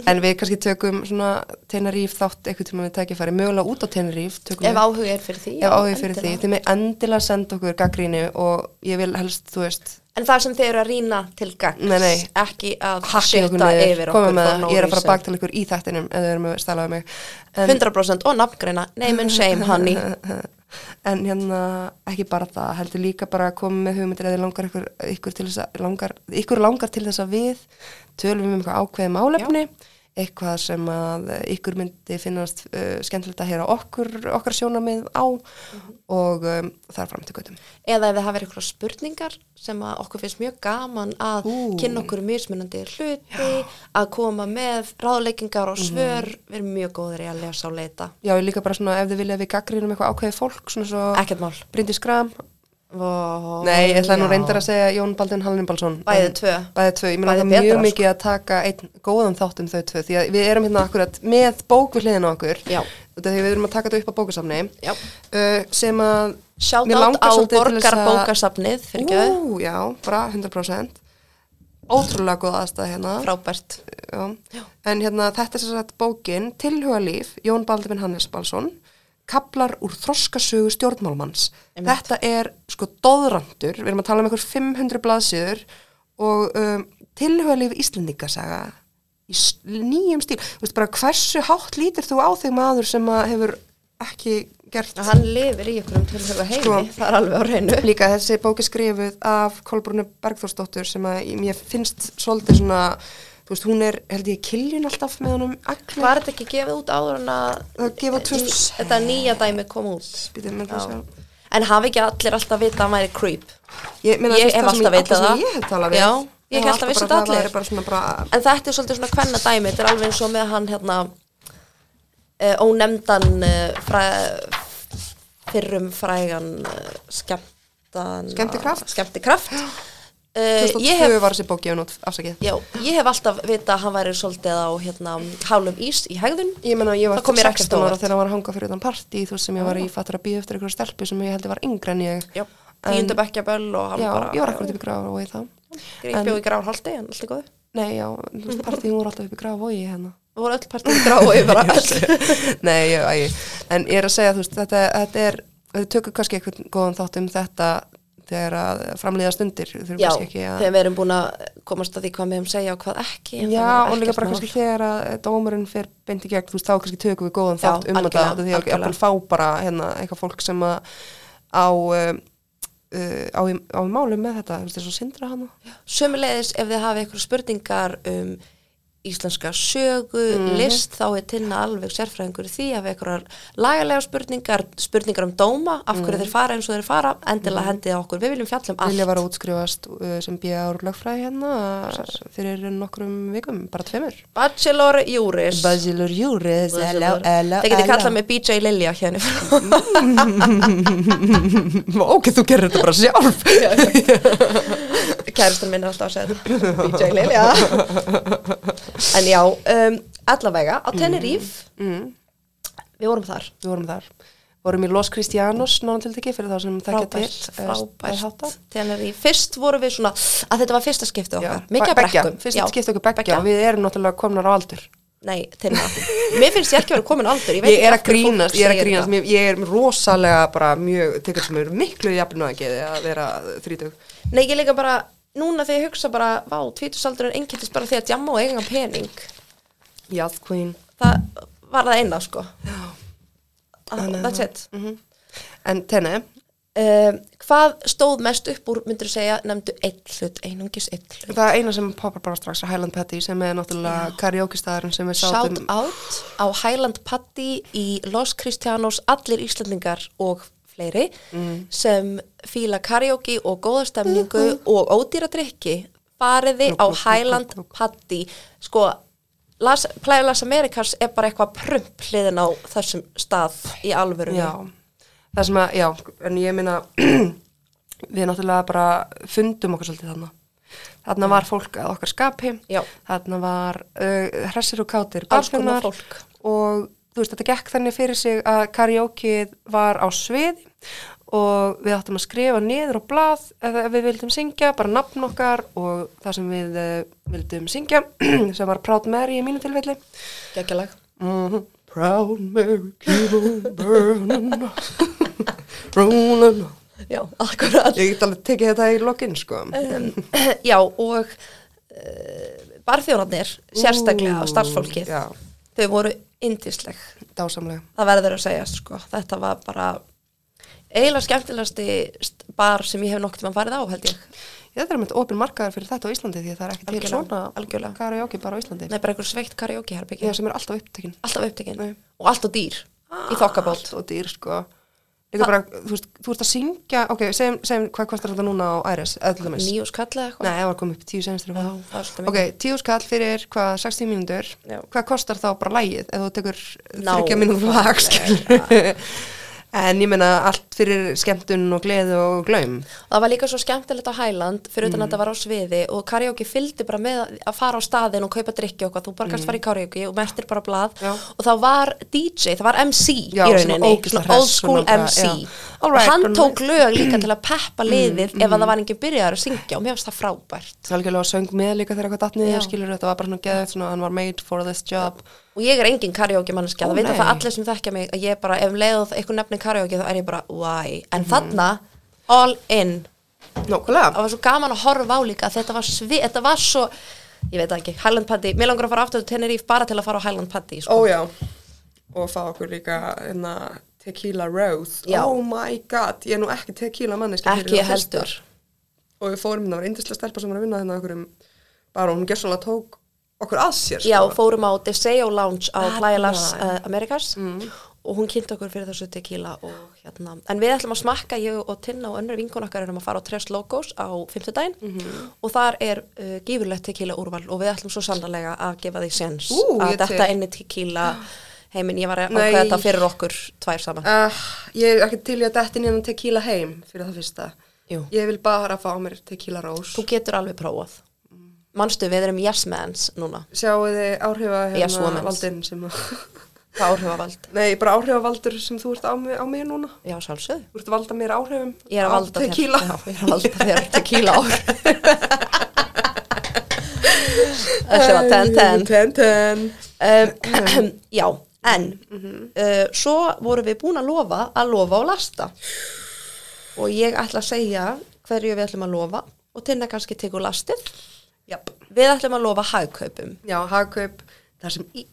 [SPEAKER 1] (laughs) en við kannski tökum svona Tenaríf þátt eitthvað tíma við tækifæri, mögulega út á Tenaríf. tökum
[SPEAKER 2] Ef
[SPEAKER 1] við-
[SPEAKER 2] áhuga er fyrir því.
[SPEAKER 1] ef
[SPEAKER 2] já,
[SPEAKER 1] áhuga er fyrir því.
[SPEAKER 2] endilega.
[SPEAKER 1] Þið með endilega senda okkur gaggrínu og ég vil helst, þú veist,
[SPEAKER 2] En það sem þeir eru að rýna til gangs.
[SPEAKER 1] Nei, nei.
[SPEAKER 2] Ekki að
[SPEAKER 1] hakka okkur
[SPEAKER 2] sjöta
[SPEAKER 1] niður,
[SPEAKER 2] yfir
[SPEAKER 1] koma
[SPEAKER 2] okkur.
[SPEAKER 1] með
[SPEAKER 2] for
[SPEAKER 1] það,
[SPEAKER 2] no
[SPEAKER 1] ég er að fara
[SPEAKER 2] reason.
[SPEAKER 1] bakt til ykkur í þættinum ef þau eru með stælaðið mig. En,
[SPEAKER 2] 100% og nafngreina, name and shame
[SPEAKER 1] (laughs)
[SPEAKER 2] honey
[SPEAKER 1] en hérna, ekki bara það, heldur líka bara að koma með hugmyndir eða langar ykkur, ykkur, til þess að, langar, ykkur langar til þess að við tölum um eitthvað ákveðið málefni, eitthvað sem að ykkur myndi finnast uh, skemmtilegt að heyra okkur, okkar sjónamið á og um, það er fram til göttum.
[SPEAKER 2] eða ef þið hafa verið eitthvað spurningar sem að okkur finnst mjög gaman að
[SPEAKER 1] Ú.
[SPEAKER 2] kynna okkur mismunandi hluti að koma með ráðleikingar
[SPEAKER 1] Mhm.
[SPEAKER 2] og svör við erum mjög góðir í að lesa og leita
[SPEAKER 1] Já, ég líka bara svona ef þið vilja að við gaggrínum eitthvað ákveðið fólk, svona svo
[SPEAKER 2] ekkert mál
[SPEAKER 1] Bryndi Skram,
[SPEAKER 2] Vó,
[SPEAKER 1] Nei, ég ætla nú
[SPEAKER 2] já.
[SPEAKER 1] reyndar að segja Jón Baldin Hallinibalsson
[SPEAKER 2] Bæði
[SPEAKER 1] En-
[SPEAKER 2] tvö.
[SPEAKER 1] Bæði tvö, ég meina
[SPEAKER 2] Bæði
[SPEAKER 1] það er
[SPEAKER 2] betra,
[SPEAKER 1] mjög
[SPEAKER 2] sko.
[SPEAKER 1] mikið að taka einn góðan þátt um þau tvö því að við erum hérna akkurat með bókuhliðin á okkur
[SPEAKER 2] Já.
[SPEAKER 1] Út af því að við erum að taka þetta upp á bókasamni
[SPEAKER 2] Já.
[SPEAKER 1] uh, sem að
[SPEAKER 2] Shout
[SPEAKER 1] mig
[SPEAKER 2] out
[SPEAKER 1] langar
[SPEAKER 2] á
[SPEAKER 1] svolítið til þess að-
[SPEAKER 2] borgarbókasafnið fyrir göðu,
[SPEAKER 1] Ú, Já, bara 100% Ótrúlega góð aðstæð hérna
[SPEAKER 2] frábært
[SPEAKER 1] Já. En hérna, þetta er sér sagt bókin Tilhugalíf, Jón Baldvin Hannes Balsson Kaplar úr þroskasögu stjórnmálmanns. Þetta er sko doðrandur, við erum að tala um einhver 500 blaðsjöður og um, Tilhugalíf Íslendingasaga í s- nýjum stíl. Þú veist bara hversu hátt lítur þú á þig maður sem að hefur ekki gert
[SPEAKER 2] og hann lifir í ykkur um tilhuga heimi
[SPEAKER 1] Sko.
[SPEAKER 2] það er alveg á reynu
[SPEAKER 1] Líka þessi bók er skrifuð af Kolbrunni Bergþórsdóttur sem að í- mér finnst svolítið svona, þú veist, hún er held ég kiljun alltaf með honum agli.
[SPEAKER 2] var þetta ekki gefið út áður en að
[SPEAKER 1] Það gefið út 2000.
[SPEAKER 2] þetta nýja dæmi kom út
[SPEAKER 1] Býtum, með það
[SPEAKER 2] Já.
[SPEAKER 1] sjá.
[SPEAKER 2] en hafi ekki allir alltaf vita að hann væri creep
[SPEAKER 1] Ég, meina, þú
[SPEAKER 2] Ég
[SPEAKER 1] veist,
[SPEAKER 2] hef
[SPEAKER 1] það sem
[SPEAKER 2] alltaf
[SPEAKER 1] alla
[SPEAKER 2] vitað
[SPEAKER 1] sem
[SPEAKER 2] það.
[SPEAKER 1] Ég hef talað við.
[SPEAKER 2] Já, ég hef
[SPEAKER 1] hef
[SPEAKER 2] alltaf vissi
[SPEAKER 1] bara
[SPEAKER 2] þetta
[SPEAKER 1] talað,
[SPEAKER 2] allir. Eh,
[SPEAKER 1] Það er bara svona bara,
[SPEAKER 2] en þetta er svolítið svona kvenna dæmi þetta er alveg eins og með hann hérna uh, ónefndan uh, fræ, fyrrum frægan uh, skemmtan
[SPEAKER 1] Skemmtikraft.
[SPEAKER 2] skemmtikraft uh, ég
[SPEAKER 1] 2002
[SPEAKER 2] hef
[SPEAKER 1] var þessi bók gefin út, afsakið.
[SPEAKER 2] Já, ég hef alltaf vita að hann væri svolítið á hérna, hálum ís í hegðun
[SPEAKER 1] Ég meina, ég var
[SPEAKER 2] Það kom mér ekkert
[SPEAKER 1] 16 ára
[SPEAKER 2] óvart.
[SPEAKER 1] þegar hann var að hanga fyrir utan partí, þú veist sem ég var í fattur að býja eftir einhverju stelpu sem ég held ég var yngra en ég.
[SPEAKER 2] Já,
[SPEAKER 1] En-
[SPEAKER 2] tíundu bekkjaböll og hann
[SPEAKER 1] Já,
[SPEAKER 2] bara
[SPEAKER 1] ég var akkurat upp í gráf og ég þá. En-
[SPEAKER 2] Grípjó í gráholti, en allt er góð
[SPEAKER 1] Nei, já, þú
[SPEAKER 2] (laughs)
[SPEAKER 1] veist, partíin voru alltaf upp í gráf og ég hérna.
[SPEAKER 2] Við vorum öll (laughs) partíð gráu bara
[SPEAKER 1] (laughs)
[SPEAKER 2] öll
[SPEAKER 1] Nei, ég, ég, en ég er að segja, þú veist, þetta, þetta er, við tökum kannski eitthvað góðan þátt um þetta þegar að framlýða stundir, við þurfum
[SPEAKER 2] Já,
[SPEAKER 1] kannski ekki að...
[SPEAKER 2] þegar við erum búin að komast að því hvað við hefum segja og hvað ekki en það
[SPEAKER 1] Já,
[SPEAKER 2] er
[SPEAKER 1] og líka
[SPEAKER 2] ekkert
[SPEAKER 1] bara
[SPEAKER 2] mál.
[SPEAKER 1] kannski þegar að eh, dómurinn fer beint í gegn, þú veist, þá kannski tökum við góðan
[SPEAKER 2] Já,
[SPEAKER 1] þátt um þetta,
[SPEAKER 2] algjörlega,
[SPEAKER 1] þetta því að
[SPEAKER 2] algjörlega.
[SPEAKER 1] jafnvel fá bara hérna, eitthvað fólk sem að á, uh, uh, á, í- á í málum með þetta, þú veist, þess að sindra hana.
[SPEAKER 2] Sömuleiðis ef þið hafið eitthvað spurningar um íslenska sögu, list þá er tinna alveg sérfræðingur í því að við eitthvað lagalega spurningar spurningar um dóma, af hverju þeir fara eins og þeir fara endilega hendið á okkur, við viljum fjalla um allt
[SPEAKER 1] Vilja var að útskrifast uh, sem bíða úr lögfræði hérna uh, fyrir nokkrum vikum, bara tveimur.
[SPEAKER 2] Bachelor Júris
[SPEAKER 1] Basilur Júris, hello, hello,
[SPEAKER 2] Það getið
[SPEAKER 1] (laughs)
[SPEAKER 2] kallað mig BJ Lilja hérna frá.
[SPEAKER 1] Ok, þú gerir þetta bara sjálf.
[SPEAKER 2] Kærastan minn er alltaf að segja þetta. BJ Lilja
[SPEAKER 1] (laughs)
[SPEAKER 2] En já, um, allavega
[SPEAKER 1] Mm.
[SPEAKER 2] á Tenerife Við vorum þar
[SPEAKER 1] Við vorum þar. Vorum í Los Cristianos, nána til þekki, fyrir þá sem þekkja til.
[SPEAKER 2] frábært,
[SPEAKER 1] eh, er
[SPEAKER 2] frábært
[SPEAKER 1] háttað.
[SPEAKER 2] Tenerife, fyrst vorum við svona að þetta var fyrsta skipti okkar,
[SPEAKER 1] Já,
[SPEAKER 2] mikið að
[SPEAKER 1] beggja.
[SPEAKER 2] brekkum
[SPEAKER 1] Fyrst skipti okkur beggja og við erum náttúrulega komnar á aldur
[SPEAKER 2] nei, Tinna, mér finnst ég ekki verið komin aldur ég, veit
[SPEAKER 1] Ég er að
[SPEAKER 2] ekki af hverju fólk
[SPEAKER 1] grínast, ég er að
[SPEAKER 2] segir
[SPEAKER 1] grínast
[SPEAKER 2] það.
[SPEAKER 1] Mér- Ég er rosalega bara mjög tekur sem eru miklu jafn og ekki að vera þrítug
[SPEAKER 2] nei, ég líka bara, núna þegar ég hugsa bara vá, tvítusaldur er einnkjöldis bara því að djamma og eiga pening
[SPEAKER 1] Yes, queen
[SPEAKER 2] það var það eina sko Ah, that's it
[SPEAKER 1] Mhm. En tenni,
[SPEAKER 2] uh, hvað stóð mest upp úr myndur segja, nefndu einn hlut einungis einn hlut,
[SPEAKER 1] það er eina sem poppar bara strax er Highland Patty sem er náttúrulega karaoke-staðurinn sem við
[SPEAKER 2] shout
[SPEAKER 1] sátum
[SPEAKER 2] out á Highland Paddy í Los Cristianos allir Íslandingar og fleiri
[SPEAKER 1] Mhm.
[SPEAKER 2] sem fíla karaoke og góða stemningu
[SPEAKER 1] Mhm.
[SPEAKER 2] og ódýra drikki fariði á Highland Paddy sko Las, Plæðilas Amerikas er bara eitthvað prump hliðin á þessum stað í alvörunni.
[SPEAKER 1] Já, það sem að, já, en ég minna (clears throat) við náttúrulega bara fundum okkur svolítið þarna þarna var fólk að okkar skapi
[SPEAKER 2] Já.
[SPEAKER 1] þarna var uh, hressir og kátir
[SPEAKER 2] Alls
[SPEAKER 1] barþjónar
[SPEAKER 2] konar fólk.
[SPEAKER 1] og þú veist, þetta gekk þannig fyrir sig að karaokeið var á sviði og við áttum að skrifa niður á blað ef, ef við vildum syngja, bara nafn okkar og það sem við uh, vildum syngja (clears throat) sem var Proud Mary í mínu tilfelli
[SPEAKER 2] geggjalag.
[SPEAKER 1] Mhm. Proud Mary, keep on burning rolling on.
[SPEAKER 2] Já, akkurat.
[SPEAKER 1] Ég get alveg tekið þetta í lokin sko
[SPEAKER 2] Um, (clears throat) já, og uh, barþjónarnir, sérstaklega á starfsfólkið,
[SPEAKER 1] Já,
[SPEAKER 2] þau voru indisleg.
[SPEAKER 1] dásamlega
[SPEAKER 2] Það verður að segja, sko. Þetta var bara eiginlega skemmtilegasti st- bar sem ég hef nokkuð mann farið á, held ég.
[SPEAKER 1] Ég þetta er með opin markaðar fyrir þetta á Íslandi því að það er ekki til
[SPEAKER 2] Algjörlega,
[SPEAKER 1] svona
[SPEAKER 2] algjörlega.
[SPEAKER 1] karaoke bara á Íslandi
[SPEAKER 2] Nei, bara einhver sveitt karaoke-herbyggi.
[SPEAKER 1] Já, sem er alltaf upptekinn
[SPEAKER 2] Alltaf upptekinn.
[SPEAKER 1] Nei. Ah,
[SPEAKER 2] Og alltaf dýr. í þokkabót.
[SPEAKER 1] Allt og dýr sko Líka bara, þú veist, þú ert að syngja Ok, segjum, segjum hvað kostar þetta núna á Æres öllum eins
[SPEAKER 2] Nýjus kalla eitthvað.
[SPEAKER 1] Nei, það var komið upp í tíu senastur
[SPEAKER 2] Já, það er svolítið
[SPEAKER 1] Ok, tíu skall fyrir hvað 60 mínútur
[SPEAKER 2] Já.
[SPEAKER 1] Hvað kostar þá bara lægið ef þú tekur
[SPEAKER 2] Ná,
[SPEAKER 1] 30 mínútur lag skilur? (laughs) En ég meina allt fyrir skemmtun og gleð og glaum
[SPEAKER 2] Það var líka svo skemmtilegt á Hæland fyrir
[SPEAKER 1] Mm.
[SPEAKER 2] utan að þetta var á sviði og karaoke fylgdi bara með að fara á staðin og kaupa drikki og hvað, þú bara kannski fara í karaoke og mertir bara blað
[SPEAKER 1] Mm. Já.
[SPEAKER 2] og þá var DJ, það var MC
[SPEAKER 1] Já,
[SPEAKER 2] í
[SPEAKER 1] svona
[SPEAKER 2] rauninni,
[SPEAKER 1] ógeðslega hress,
[SPEAKER 2] old school
[SPEAKER 1] svona bara,
[SPEAKER 2] MC
[SPEAKER 1] já. All right,
[SPEAKER 2] og hann
[SPEAKER 1] all
[SPEAKER 2] tók lög líka til að peppa
[SPEAKER 1] Mm,
[SPEAKER 2] liðið ef að það var enginn byrjaður að syngja og mér finnst það frábært
[SPEAKER 1] Algjörlega söng með líka þegar eitthvað datnið
[SPEAKER 2] Já.
[SPEAKER 1] skilur þetta var bara svona geðið svona hann var made for this job
[SPEAKER 2] og ég er engin karaoke mannskja,
[SPEAKER 1] Ó,
[SPEAKER 2] það vita
[SPEAKER 1] nei.
[SPEAKER 2] það allir sem þekkja mig að ég bara, ef um leiðuð eitthvað nefni karaoke þá er ég bara, why,
[SPEAKER 1] Mm.
[SPEAKER 2] en þarna all in það
[SPEAKER 1] Nókulega
[SPEAKER 2] var svo gaman að horfa á líka þetta var, svi, þetta var svo ég veit það ekki, Highland Paddy, mér langar að fara aftur til Tenerife bara til að fara á Highland Paddy sko.
[SPEAKER 1] já Og fá okkur líka hérna, tequila rose
[SPEAKER 2] Já.
[SPEAKER 1] Oh my god, ég er nú ekki tequila manneski
[SPEAKER 2] ekki ég heldur
[SPEAKER 1] og við fórum, það var yndislega stelpa sem var að vinna þarna okkur um bara og hún gjössanlega tók okkur að sér sko.
[SPEAKER 2] já, fórum á Deseo Lounge á
[SPEAKER 1] Þarna.
[SPEAKER 2] Plæjalas uh, Amerikas
[SPEAKER 1] Mm.
[SPEAKER 2] og hún kynnti okkur fyrir þessu tequila og hérna, en við ætlum að smakka ég og Tinna og önnur vinkun okkar erum að fara á Tres Logos á fimmtudaginn
[SPEAKER 1] Mhm.
[SPEAKER 2] og þar er uh, gífurlegt tequila úrval og við ætlum svo sannlega að gefa því sens
[SPEAKER 1] Ú,
[SPEAKER 2] að
[SPEAKER 1] ég tek.
[SPEAKER 2] þetta inni tequila heiminn, ég var að
[SPEAKER 1] Nei.
[SPEAKER 2] ákveða þetta fyrir okkur tvær saman
[SPEAKER 1] uh, ég er ekki til í að detti nýjan tequila heim fyrir það fyrsta
[SPEAKER 2] Jú.
[SPEAKER 1] ég vil bara fá mér tequila rós
[SPEAKER 2] Þú getur alveg prófað. Manstu, við erum yes men's núna.
[SPEAKER 1] sjáu þið áhrifa hérna
[SPEAKER 2] Yes, woman.
[SPEAKER 1] valdinn sem að (laughs)
[SPEAKER 2] Það áhrifavald.
[SPEAKER 1] nei, bara áhrifavaldur sem þú ert á, mig- á mig núna
[SPEAKER 2] Já, sjálfsögð.
[SPEAKER 1] þú ert að valda mér áhrifum
[SPEAKER 2] Ég er að
[SPEAKER 1] af
[SPEAKER 2] valda þér.
[SPEAKER 1] tequila
[SPEAKER 2] Já, ég er að valda þér tequila áhrif. Þessi var ten ten.
[SPEAKER 1] (laughs) ten, ten.
[SPEAKER 2] Um, (clears throat) já, en uh, svo vorum við búin að lofa að lofa og lasta. Og ég ætla að segja hverju við ætlum að lofa og tinna kannski tekur lastið.
[SPEAKER 1] Japp.
[SPEAKER 2] Við ætlum að lofa hagkaupum.
[SPEAKER 1] já, hagkaup það sem, í,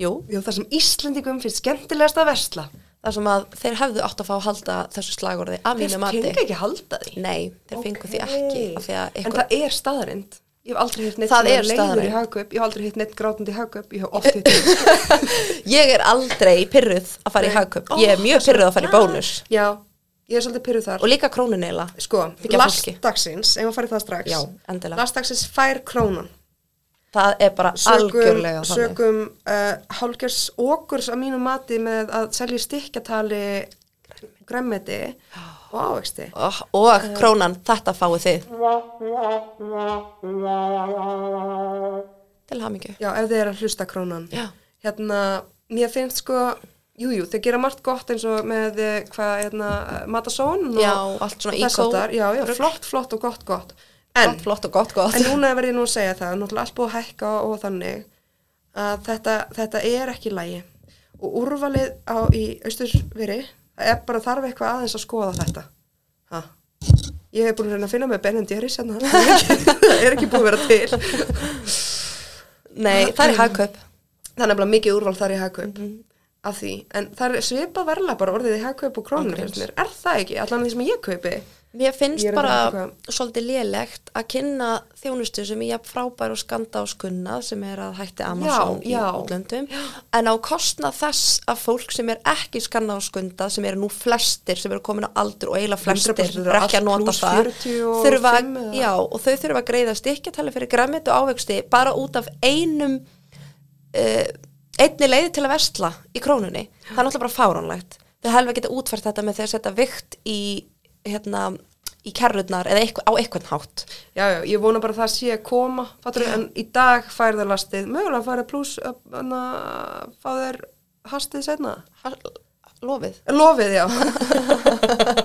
[SPEAKER 2] Jú,
[SPEAKER 1] já, það sem Íslendingum finnst skemmtilegast að versla
[SPEAKER 2] þar sem að þeir hefðu átt að fá að halda þessu slagorði að mínu
[SPEAKER 1] þeir
[SPEAKER 2] mati.
[SPEAKER 1] fengi ekki halda því
[SPEAKER 2] Nei, þeir fengu því ekki af því að
[SPEAKER 1] En
[SPEAKER 2] ykkur,
[SPEAKER 1] það er staðarind Ég hef aldrei hitt neitt
[SPEAKER 2] Það
[SPEAKER 1] sem
[SPEAKER 2] er
[SPEAKER 1] leiður
[SPEAKER 2] staðreynd.
[SPEAKER 1] í hagkaup Ég hef aldrei hitt neitt grátandi í hagkaup Ég hef oft hitt
[SPEAKER 2] ég er aldrei pyrruð að fara í hagkaup,
[SPEAKER 1] Ó,
[SPEAKER 2] ég er mjög pyrruð að fara í bónus
[SPEAKER 1] Já, ég er svolítið pyrruð þar
[SPEAKER 2] og líka krónuneila
[SPEAKER 1] Sko,
[SPEAKER 2] Þykja fólki.
[SPEAKER 1] lastdagsins, ef maður farið það strax
[SPEAKER 2] Já, endilega.
[SPEAKER 1] Lastdagsins fær krónan
[SPEAKER 2] það er bara
[SPEAKER 1] Sökum,
[SPEAKER 2] algjörlega þannig
[SPEAKER 1] sökum uh, hálgjörs okurs að mínu mati með að selja í stykkjatali gremmeti og ávexti
[SPEAKER 2] oh, og krónan, þetta fáið þið til hamingju
[SPEAKER 1] Já, ef þið er að hlusta krónan.
[SPEAKER 2] Já.
[SPEAKER 1] Hérna, mér finnst sko, jújú, jú, þeir gera margt gott eins og með eh, hvað, hérna, Matasón og
[SPEAKER 2] Já, allt svona
[SPEAKER 1] og þess
[SPEAKER 2] eco-
[SPEAKER 1] háttar. Já, já,
[SPEAKER 2] rugl.
[SPEAKER 1] flott, flott og gott, gott. En,
[SPEAKER 2] flott og gott gott
[SPEAKER 1] en núna verð ég nú að segja það, náttúrulega allt búið að hækka og þannig að þetta, þetta er ekki lægi. Og úrvalið á, í austurveri, það er bara þarf eitthvað aðeins að skoða þetta. Ha. Ég hef búin að reyna að finna með Ben Jerry's hérna, (laughs) það er ekki- það er ekki búið að vera til.
[SPEAKER 2] nei, það er í hagkaup
[SPEAKER 1] það er nefnilega mikið úrval þar í hagkaup af því, en það er svipað verla bara orðið í hagkaup og krónur
[SPEAKER 2] Ángríns.
[SPEAKER 1] finnst mér, er það ekki, allan því sem ég kaupi
[SPEAKER 2] mér finnst
[SPEAKER 1] Ég er að um
[SPEAKER 2] bara
[SPEAKER 1] vita hvað-
[SPEAKER 2] svolítið lélegt að kynna þjónustu sem ég frábær og skanda og skunna sem er að hætti Amazon
[SPEAKER 1] Já, já.
[SPEAKER 2] í útlöndum en á kostnað þess að fólk sem er ekki skanna og skunda sem eru nú flestir sem eru komin á aldur og eiginlega
[SPEAKER 1] 100%
[SPEAKER 2] flestir
[SPEAKER 1] eru
[SPEAKER 2] eru ekki
[SPEAKER 1] allt
[SPEAKER 2] að nota
[SPEAKER 1] plús
[SPEAKER 2] það
[SPEAKER 1] 45
[SPEAKER 2] þurfa,
[SPEAKER 1] eða?
[SPEAKER 2] já, og þau þurfa að greiða stikkjatali fyrir græmit og ávegsti bara út af einum uh, einni leiði til að versla í krónunni, það er náttúrulega bara fáránlegt þau helfa geta útfært þetta með því að setja vikt í hérna í kerrurnar eða eitthva, á eitthvað hátt
[SPEAKER 1] já, já, ég vona bara að það sé að koma fattur, en í dag fær það lastið mögulega færið pluss að fá þær hastið setna?
[SPEAKER 2] Ha- Lofið.
[SPEAKER 1] Lofið, já. (laughs)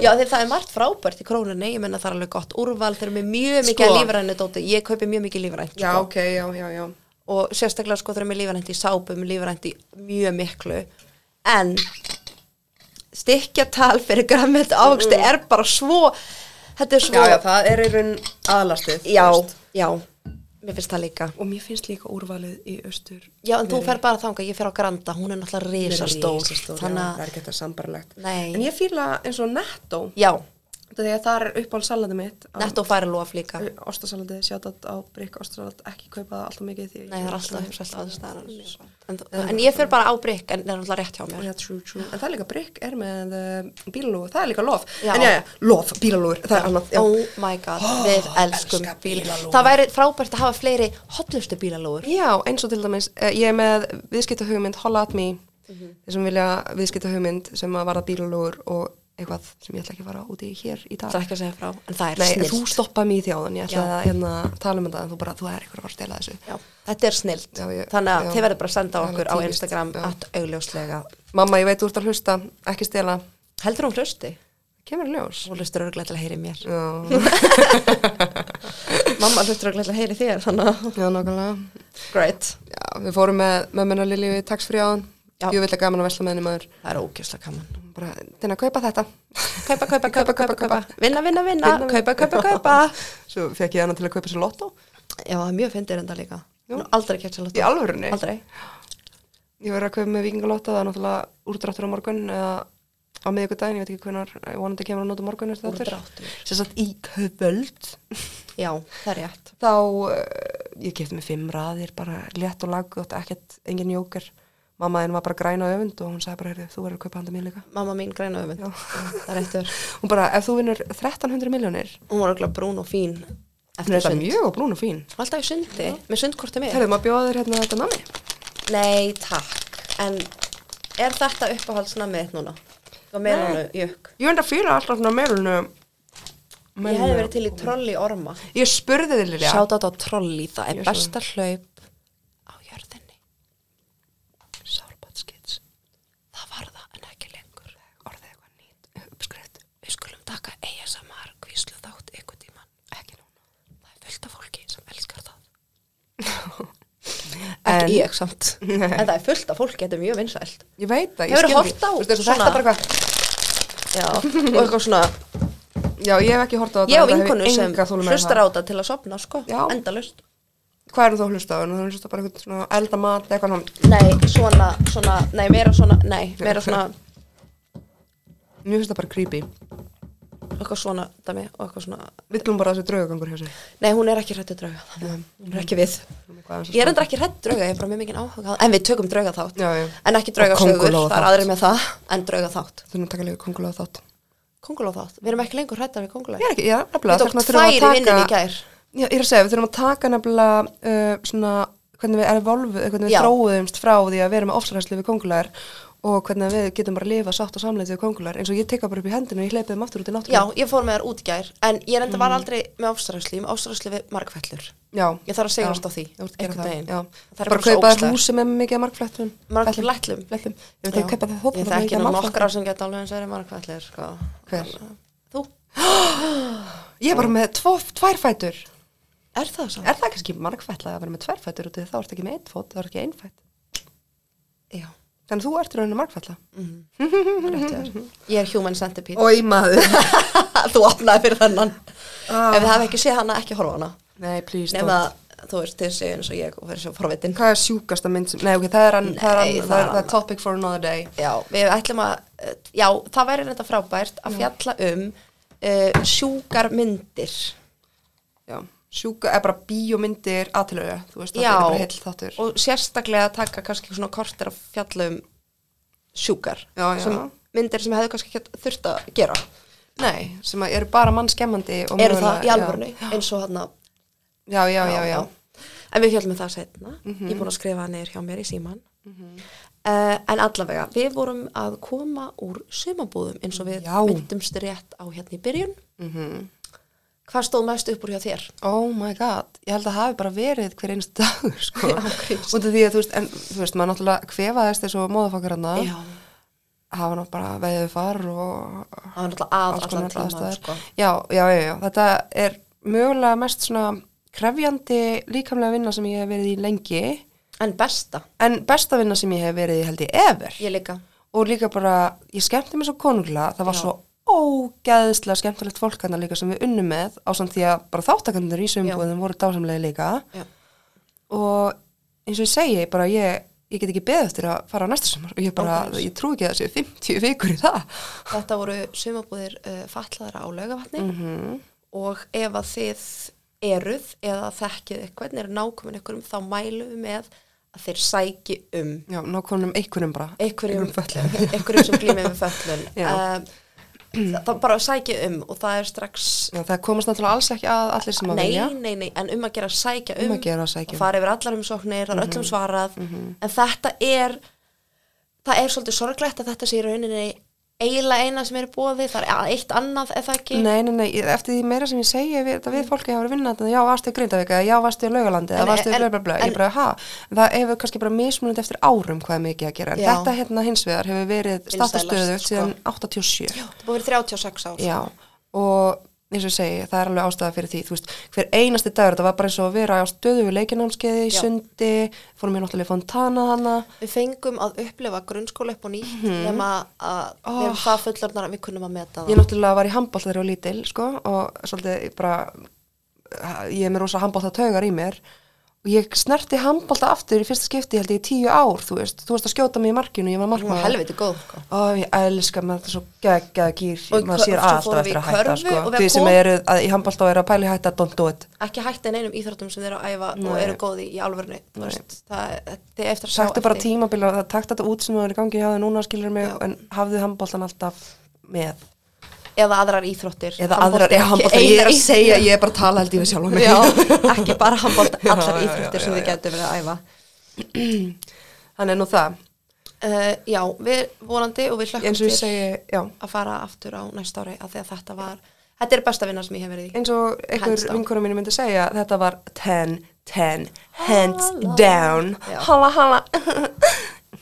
[SPEAKER 2] Já, því það er margt frábært í krónunni, ég menna það er alveg gott úrval, þeir eru með mjög mikið
[SPEAKER 1] Sko.
[SPEAKER 2] sko. lífrænu dóti, ég kaupi mjög mikið lífrænt,
[SPEAKER 1] já,
[SPEAKER 2] sko.
[SPEAKER 1] ok, já, já, já.
[SPEAKER 2] Og sérstaklega, sko, þeir eru með lífrænt í sápum, lífrænt í mjög miklu, en stikkjatal fyrir grammett ávöxti er bara svo, þetta er svo,
[SPEAKER 1] Mm. Já, já, það er í raun aðlastið.
[SPEAKER 2] já,
[SPEAKER 1] þú veist.
[SPEAKER 2] já, mér finnst það líka.
[SPEAKER 1] Og mér finnst líka úrvalið í austur.
[SPEAKER 2] Já, en þú fer bara þangað, ég fer á Granda, hún er náttúrulega risastór,
[SPEAKER 1] Þannig að það
[SPEAKER 2] þannig að,
[SPEAKER 1] er ekki þetta sambarlegt.
[SPEAKER 2] Nei.
[SPEAKER 1] En ég fýla eins og netto.
[SPEAKER 2] já,
[SPEAKER 1] Þegar það er uppáhald salatið mitt.
[SPEAKER 2] netto færi lof líka.
[SPEAKER 1] Ostasalatið, sjátat Eh, á brygg, ostasalat, ekki kaupa það alltaf mikið því. að
[SPEAKER 2] Nei,
[SPEAKER 1] ég-
[SPEAKER 2] það er alltaf uppselt aðeins staðar. En, en ég fyrir bara á brygg, en það er alltaf rétt hjá mér.
[SPEAKER 1] Já, true, true. En það er líka brygg, er með uh, bílalúður, það er líka lof.
[SPEAKER 2] Já.
[SPEAKER 1] En já, já, lof, bílalúður, það er annað. Já.
[SPEAKER 2] Oh my
[SPEAKER 1] (gasps)
[SPEAKER 2] god, við elskum
[SPEAKER 1] elska bílalúgur.
[SPEAKER 2] bílalúgur. Það væri frábært að hafa fleiri hotlustu bílalúgur.
[SPEAKER 1] já, eins og til dæmis, uh, ég er með viðskiptahugmynd Holla at me, þeir sem vilja viðskiptahugmynd sem að varða bílalúður og eitthvað sem ég ætla ekki að fara út í hér í dag.
[SPEAKER 2] Það er ekki að segja frá, en það er
[SPEAKER 1] Nei, en
[SPEAKER 2] snilt.
[SPEAKER 1] þú stoppaði mig í þjáðan, ég ætlaði
[SPEAKER 2] Já.
[SPEAKER 1] að hérna, tala um þetta en þú bara, þú er eitthvað að fara að stela þessu.
[SPEAKER 2] Já, þetta er snilt.
[SPEAKER 1] Já, ég-
[SPEAKER 2] Þannig að
[SPEAKER 1] já.
[SPEAKER 2] þið verður bara að senda á
[SPEAKER 1] Það er
[SPEAKER 2] okkur á
[SPEAKER 1] típist,
[SPEAKER 2] Instagram
[SPEAKER 1] já.
[SPEAKER 2] að augljóslega.
[SPEAKER 1] Mamma, ég veit þú ert að hlusta, ekki stela,
[SPEAKER 2] Heldur hún hlusti?
[SPEAKER 1] kemur í ljós.
[SPEAKER 2] Hún hlustur örglega til að heyri mér.
[SPEAKER 1] (laughs) Já,
[SPEAKER 2] Mamma hlustur örglega til að heyri þér, þannig að...
[SPEAKER 1] já, nákvæmlega.
[SPEAKER 2] Great.
[SPEAKER 1] Já, við fórum með mömmuna Lilju í taxfríáðan,
[SPEAKER 2] Já.
[SPEAKER 1] ég vil að gaman að vesla með henni maður.
[SPEAKER 2] Það er ógjóslega gaman.
[SPEAKER 1] Bara, þeirna, kaupa þetta. (laughs)
[SPEAKER 2] Kaupa, kaupa, kaupa, kaupa, kaupa. Vinna, vinna, vinna.
[SPEAKER 1] Vinna, vinna.
[SPEAKER 2] Kaupa, kaupa, kaupa.
[SPEAKER 1] (laughs) Svo fekk ég hana til að kaupa sér lottó.
[SPEAKER 2] Já, það er mjög fyndir enda líka.
[SPEAKER 1] Já.
[SPEAKER 2] Nú, Aldrei kert sér
[SPEAKER 1] Í alvörunni.
[SPEAKER 2] Aldrei.
[SPEAKER 1] Ég verður að kaupa með vikingalotta, það er náttúrulega úrdráttur á morgun eða á miðvikudaginn, ég veit ekki hvernar, vonandi kemur hann út á morgun eftir þetta.
[SPEAKER 2] Úrdráttur.
[SPEAKER 1] Sérsagt í kvöld.
[SPEAKER 2] Já, það er rétt.
[SPEAKER 1] Þá, uh, ég kefti mig fimm raðir, bara létt og laggótt, ekkert, engin jóker. Mamma henn var bara græn á öfund og hún sagði bara, heyrðu, þú verður að kaupa handa mér líka.
[SPEAKER 2] Mamma mín græna öfund.
[SPEAKER 1] Já.
[SPEAKER 2] Það er réttur.
[SPEAKER 1] Hún bara, ef þú vinnur 1300 miljónir,
[SPEAKER 2] Hún var örugglega brún og fín
[SPEAKER 1] hún er
[SPEAKER 2] eftir
[SPEAKER 1] þetta
[SPEAKER 2] sund.
[SPEAKER 1] mjög og brún og fín.
[SPEAKER 2] Alltaf í sundi, með sundkorti mig.
[SPEAKER 1] Herðu, maður bjóða þér hérna þetta nami?
[SPEAKER 2] Nei, takk. En er þetta uppáhaldsnamið þitt núna? Og meðlanu, jökk.
[SPEAKER 1] Ég veit að fýla alltaf svona meirinu.
[SPEAKER 2] Ég hefði verið til í trolli orma.
[SPEAKER 1] Ég spurði þig, Lilja.
[SPEAKER 2] Sjátt á trolli, það
[SPEAKER 1] Ég
[SPEAKER 2] er
[SPEAKER 1] svo.
[SPEAKER 2] besta hlaup á jörðinni.
[SPEAKER 1] Sárbátskits.
[SPEAKER 2] Það var það en ekki lengur.
[SPEAKER 1] Orðið eitthvað nýtt. Uppskrift.
[SPEAKER 2] Við skulum taka ASMR kvíslu þátt ykkur tíman. Ekki núna. Það er fullt af fólki sem elskar það.
[SPEAKER 1] En-
[SPEAKER 2] ekki ég samt. en það er fullt af fólki, þetta er mjög vinsælt.
[SPEAKER 1] Ég veit það. ég
[SPEAKER 2] Hefurðu
[SPEAKER 1] skil
[SPEAKER 2] horft
[SPEAKER 1] þig.
[SPEAKER 2] á
[SPEAKER 1] Þú veist, eins og
[SPEAKER 2] svona-
[SPEAKER 1] Þetta bara eitthvað.
[SPEAKER 2] Já, og eitthvað svona
[SPEAKER 1] Já, ég hef ekki hort á þetta.
[SPEAKER 2] Ég á
[SPEAKER 1] þetta hef
[SPEAKER 2] vinkonu sem
[SPEAKER 1] enga þolinmæði
[SPEAKER 2] hlustar
[SPEAKER 1] það.
[SPEAKER 2] á þetta til að sopna, sko,
[SPEAKER 1] Já.
[SPEAKER 2] endalust
[SPEAKER 1] Hvað eru þú að hlusta á? Nú, Þú hlusta bara eitthvað svona elda mat eða eitthvað svona.
[SPEAKER 2] Nei, svona, svona, nei, meira svona, nei, meira svona
[SPEAKER 1] Mér finnst það bara creepy.
[SPEAKER 2] eitthvað svona, dæmi, og eitthvað svona
[SPEAKER 1] Villum bara þessi draugagangur hjá sér.
[SPEAKER 2] Nei, hún er ekki hrættu drauga, þannig að hún er ekki við
[SPEAKER 1] Hvað
[SPEAKER 2] Ég er endur ekki hrættu drauga, ég er bara mjög mikið áhuga á- En við tökum drauga þátt,
[SPEAKER 1] Já, já.
[SPEAKER 2] en ekki drauga
[SPEAKER 1] Og
[SPEAKER 2] sögur,
[SPEAKER 1] köngulóa
[SPEAKER 2] það er
[SPEAKER 1] þátt.
[SPEAKER 2] aðrir með það En drauga þátt,
[SPEAKER 1] Þannig að taka líka kongulega þátt.
[SPEAKER 2] konguló þátt, við erum ekki lengur hrættar við konguló
[SPEAKER 1] Ég er ekki, já, nefnilega.
[SPEAKER 2] Við tók
[SPEAKER 1] þess vegna
[SPEAKER 2] tvær
[SPEAKER 1] þurfum við
[SPEAKER 2] í
[SPEAKER 1] að
[SPEAKER 2] vinnunni í
[SPEAKER 1] taka-
[SPEAKER 2] gær
[SPEAKER 1] Já, ég er að segja, við þurfum að taka nefnilega uh, svona, hvernig við evolvu, eh, hvernig við
[SPEAKER 2] Já.
[SPEAKER 1] þróuðumst frá því að vera með ofsaræslu við kongulegar og hvernig við getum bara að lifa sátt og samleitt við kongulegar eins og ég tekka bara upp í hendinu og ég hleypið þeim aftur út í
[SPEAKER 2] Já,
[SPEAKER 1] náttúrulega.
[SPEAKER 2] ég fór með þær út í gær, en ég enda var aldrei með ástræðslu, ég er með ástræðslu við margfellur.
[SPEAKER 1] Já.
[SPEAKER 2] Ég þarf að segjast
[SPEAKER 1] Já.
[SPEAKER 2] á því,
[SPEAKER 1] Þú ert að gera
[SPEAKER 2] einhvern
[SPEAKER 1] það,
[SPEAKER 2] veginn.
[SPEAKER 1] já.
[SPEAKER 2] Það er
[SPEAKER 1] bara
[SPEAKER 2] bara svo
[SPEAKER 1] kaupa þér
[SPEAKER 2] ógeðslegt.
[SPEAKER 1] húsi með mikið að margflettum.
[SPEAKER 2] Margfellum lætlum.
[SPEAKER 1] Flettum. Ég veit ekki kaupa þér hópa
[SPEAKER 2] Ég þekki nú nokkra sem geta alveg eins verið margfællir sko.
[SPEAKER 1] Hver?
[SPEAKER 2] Þú,
[SPEAKER 1] Ég er bara með tvo, tvær fætur.
[SPEAKER 2] er það svo?
[SPEAKER 1] Er það kannski margfætla að vera með tvær fætur út í því þá ertu ekki með einn fót, þá ertu ekki einfætt.
[SPEAKER 2] Já,
[SPEAKER 1] Þannig að þú ert rauninu margfætla.
[SPEAKER 2] rétt er
[SPEAKER 1] (laughs)
[SPEAKER 2] Ég er human centipede
[SPEAKER 1] Ói maður.
[SPEAKER 2] (laughs) Þú opnaði fyrir þennan
[SPEAKER 1] Ah.
[SPEAKER 2] Ef þið hafi ekki séð hana, ekki horfa á hana
[SPEAKER 1] (laughs) Nei, please
[SPEAKER 2] Nefn að þú veist þið séu eins og ég og verið svo forvitin
[SPEAKER 1] Hvað er sjúkasta mynd sem, nei ok, það er hann, það er
[SPEAKER 2] Nei,
[SPEAKER 1] hann,
[SPEAKER 2] það
[SPEAKER 1] það er það
[SPEAKER 2] er annað.
[SPEAKER 1] er topic for another day.
[SPEAKER 2] Já, við ætlum að eh, Já, það væri reynda frábært að fjalla um uh, sjúkar myndir
[SPEAKER 1] Já, sjúka er bara bíómyndir aðtilöðu, þú veist, það
[SPEAKER 2] Já.
[SPEAKER 1] er bara heill þáttur.
[SPEAKER 2] og sérstaklega að taka kannski svona kortir að fjalla um sjúkar
[SPEAKER 1] Já, já.
[SPEAKER 2] Sem myndir sem hefðu kannski ekki þurft að gera
[SPEAKER 1] Nei, sem að eru bara mannskemmandi og
[SPEAKER 2] eru
[SPEAKER 1] mögulega-
[SPEAKER 2] það í alvörni eins og hann
[SPEAKER 1] Já, já, já, Mhm. já. já.
[SPEAKER 2] en við fjöldum með það setna ég er búin að skrifa það niður hjá mér í síman mm
[SPEAKER 1] Mhm.
[SPEAKER 2] en allavega við vorum að koma úr sumabúðum eins og við
[SPEAKER 1] Já.
[SPEAKER 2] myndumst rétt á hérna í byrjun
[SPEAKER 1] Mhm.
[SPEAKER 2] Hvað stóð mest upp úr hjá þér?
[SPEAKER 1] Oh my god, ég held að hafi bara verið hver einst dagur, sko.
[SPEAKER 2] (laughs) Já, ángríns.
[SPEAKER 1] Út af því að, þú veist, en, þú veist, maður náttúrulega kvefaðist þessu móðafokkar hann að hérna. hafa náttúrulega bara veðið far og
[SPEAKER 2] Það var náttúrulega að
[SPEAKER 1] alls
[SPEAKER 2] allan
[SPEAKER 1] konar
[SPEAKER 2] tíma,
[SPEAKER 1] aðstæður.
[SPEAKER 2] sko.
[SPEAKER 1] Já, já, já, já, þetta er mögulega mest svona krefjandi líkamlega vinna sem ég hef verið í lengi,
[SPEAKER 2] En besta,
[SPEAKER 1] en besta vinna sem ég hef verið í held ég ever.
[SPEAKER 2] ég líka.
[SPEAKER 1] Og líka bara, ég skemmti mér svo konunglega, það var
[SPEAKER 2] Já.
[SPEAKER 1] svo ógeðslega skemmtilegt fólk hann líka sem við unnum með á samt því að bara þáttakandur í sömbúðum voru dásamlega líka
[SPEAKER 2] Já.
[SPEAKER 1] og eins og ég segi bara ég, ég get ekki beðið eftir að fara á næsta sumar og ég bara,
[SPEAKER 2] Ókei.
[SPEAKER 1] ég trú ekki að það séu 50 vikur í það
[SPEAKER 2] Þetta voru sumabúðir uh, fallaðara á laugavatni
[SPEAKER 1] Mhm.
[SPEAKER 2] og ef að þið eruð eða þekkið eitthvað, er nákomin einhverjum, þá mælum við með að þeir sæki um
[SPEAKER 1] já, nákvæmum einhverjum bara
[SPEAKER 2] einhverjum,
[SPEAKER 1] föllum
[SPEAKER 2] einhverjum sem glýmið við föllun.
[SPEAKER 1] Um Já.
[SPEAKER 2] Um, það, það bara sæki um og það er strax
[SPEAKER 1] já, það komast náttúrulega alls ekki að allir sem Um að
[SPEAKER 2] nei,
[SPEAKER 1] vilja
[SPEAKER 2] nei, nei, en um að gera sækja um,
[SPEAKER 1] Um að gera að sækja um. Mhm.
[SPEAKER 2] fara yfir allar umsóknir, það er öllum svarað en þetta er það er svolítið sorglegt að þetta sé í rauninni eiginlega eina sem er í bóði það er a- eitt annað eða ekki Mm.
[SPEAKER 1] Nei, nei, nei, ég- eftir því meira sem ég segi við, þetta við fólki hafa verið vinnandi, já, varstu í Grindavík eða já, varstu í Laugalandi eða
[SPEAKER 2] En-
[SPEAKER 1] varstu í
[SPEAKER 2] en-
[SPEAKER 1] blablabla,
[SPEAKER 2] en-
[SPEAKER 1] ég bara, ha það hefur kannski bara mismunandi eftir árum hvað er mikið að gera, en
[SPEAKER 2] Já.
[SPEAKER 1] þetta hérna hins vegar hefur verið
[SPEAKER 2] Vinsælast,
[SPEAKER 1] stattastöðugt
[SPEAKER 2] sko.
[SPEAKER 1] síðan 87
[SPEAKER 2] Já, það er búið að vera 36 ár
[SPEAKER 1] Já, og eins og ég segi, það er alveg ástæða fyrir því, þú veist, hver einasti dagur, þetta var bara eins og að vera á stöðu við leikinámskeiði í
[SPEAKER 2] Já.
[SPEAKER 1] sundi, fórum við náttúrulega í fontana hana,
[SPEAKER 2] við fengum að upplifa grunnskóla upp og nýtt nema að við erum það fullorðnar að við kunnum að meta það
[SPEAKER 1] ég náttúrulega var í handbólt þegar ég var lítil, sko, og svolítið ég bara, ég er með rosa handbólt að taugar í mér, og ég snerti handbólt aftur í fyrsta skipti, held ég, í tíu ár, þú veist, þú veist að skjóta mig í markinu, ég var
[SPEAKER 2] Hún var
[SPEAKER 1] markmaður.
[SPEAKER 2] helviti góð sko.
[SPEAKER 1] Ó, ég elska með þetta svo geggjað gýr,
[SPEAKER 2] Og í
[SPEAKER 1] maður sér
[SPEAKER 2] kör- svo
[SPEAKER 1] alltaf
[SPEAKER 2] fórum við
[SPEAKER 1] eftir
[SPEAKER 2] í
[SPEAKER 1] að hætta,
[SPEAKER 2] körfu
[SPEAKER 1] sko,
[SPEAKER 2] og við
[SPEAKER 1] því sem
[SPEAKER 2] kom-
[SPEAKER 1] eru að, í handbólt og eru að pæli hætta, don't do it.
[SPEAKER 2] ekki hætta neinum íþróttum sem þeir eru að æfa og
[SPEAKER 1] Nei.
[SPEAKER 2] eru góði í alvörinu það er þetta er eftir að sjá
[SPEAKER 1] Taktu bara
[SPEAKER 2] eftir.
[SPEAKER 1] tímabil og það takt þetta út sem það er í gangi hjá það núna skilur mig en hafðu handbóltan alltaf með
[SPEAKER 2] eða aðrar íþróttir
[SPEAKER 1] eða
[SPEAKER 2] Handbolti
[SPEAKER 1] aðrar,
[SPEAKER 2] ekki
[SPEAKER 1] eða handbóltan, ég er að
[SPEAKER 2] eina
[SPEAKER 1] segja ég er bara að tala held ég við sjálf mig
[SPEAKER 2] já, ekki bara handbólt
[SPEAKER 1] Já,
[SPEAKER 2] allar
[SPEAKER 1] já, já,
[SPEAKER 2] íþróttir sem
[SPEAKER 1] já,
[SPEAKER 2] þið
[SPEAKER 1] já.
[SPEAKER 2] getur verið að æfa
[SPEAKER 1] Þannig er nú það,
[SPEAKER 2] uh, já, við vonandi og við hlökkum
[SPEAKER 1] eins og ég
[SPEAKER 2] til
[SPEAKER 1] segi já,
[SPEAKER 2] að fara aftur á næsta ári af því að þetta var, þetta er besta vinna sem ég hef verið í
[SPEAKER 1] eins og einhver
[SPEAKER 2] Hands down.
[SPEAKER 1] vinkunum mínu myndi segja þetta var 10, 10 hands
[SPEAKER 2] Hala.
[SPEAKER 1] down
[SPEAKER 2] Já.
[SPEAKER 1] hala hala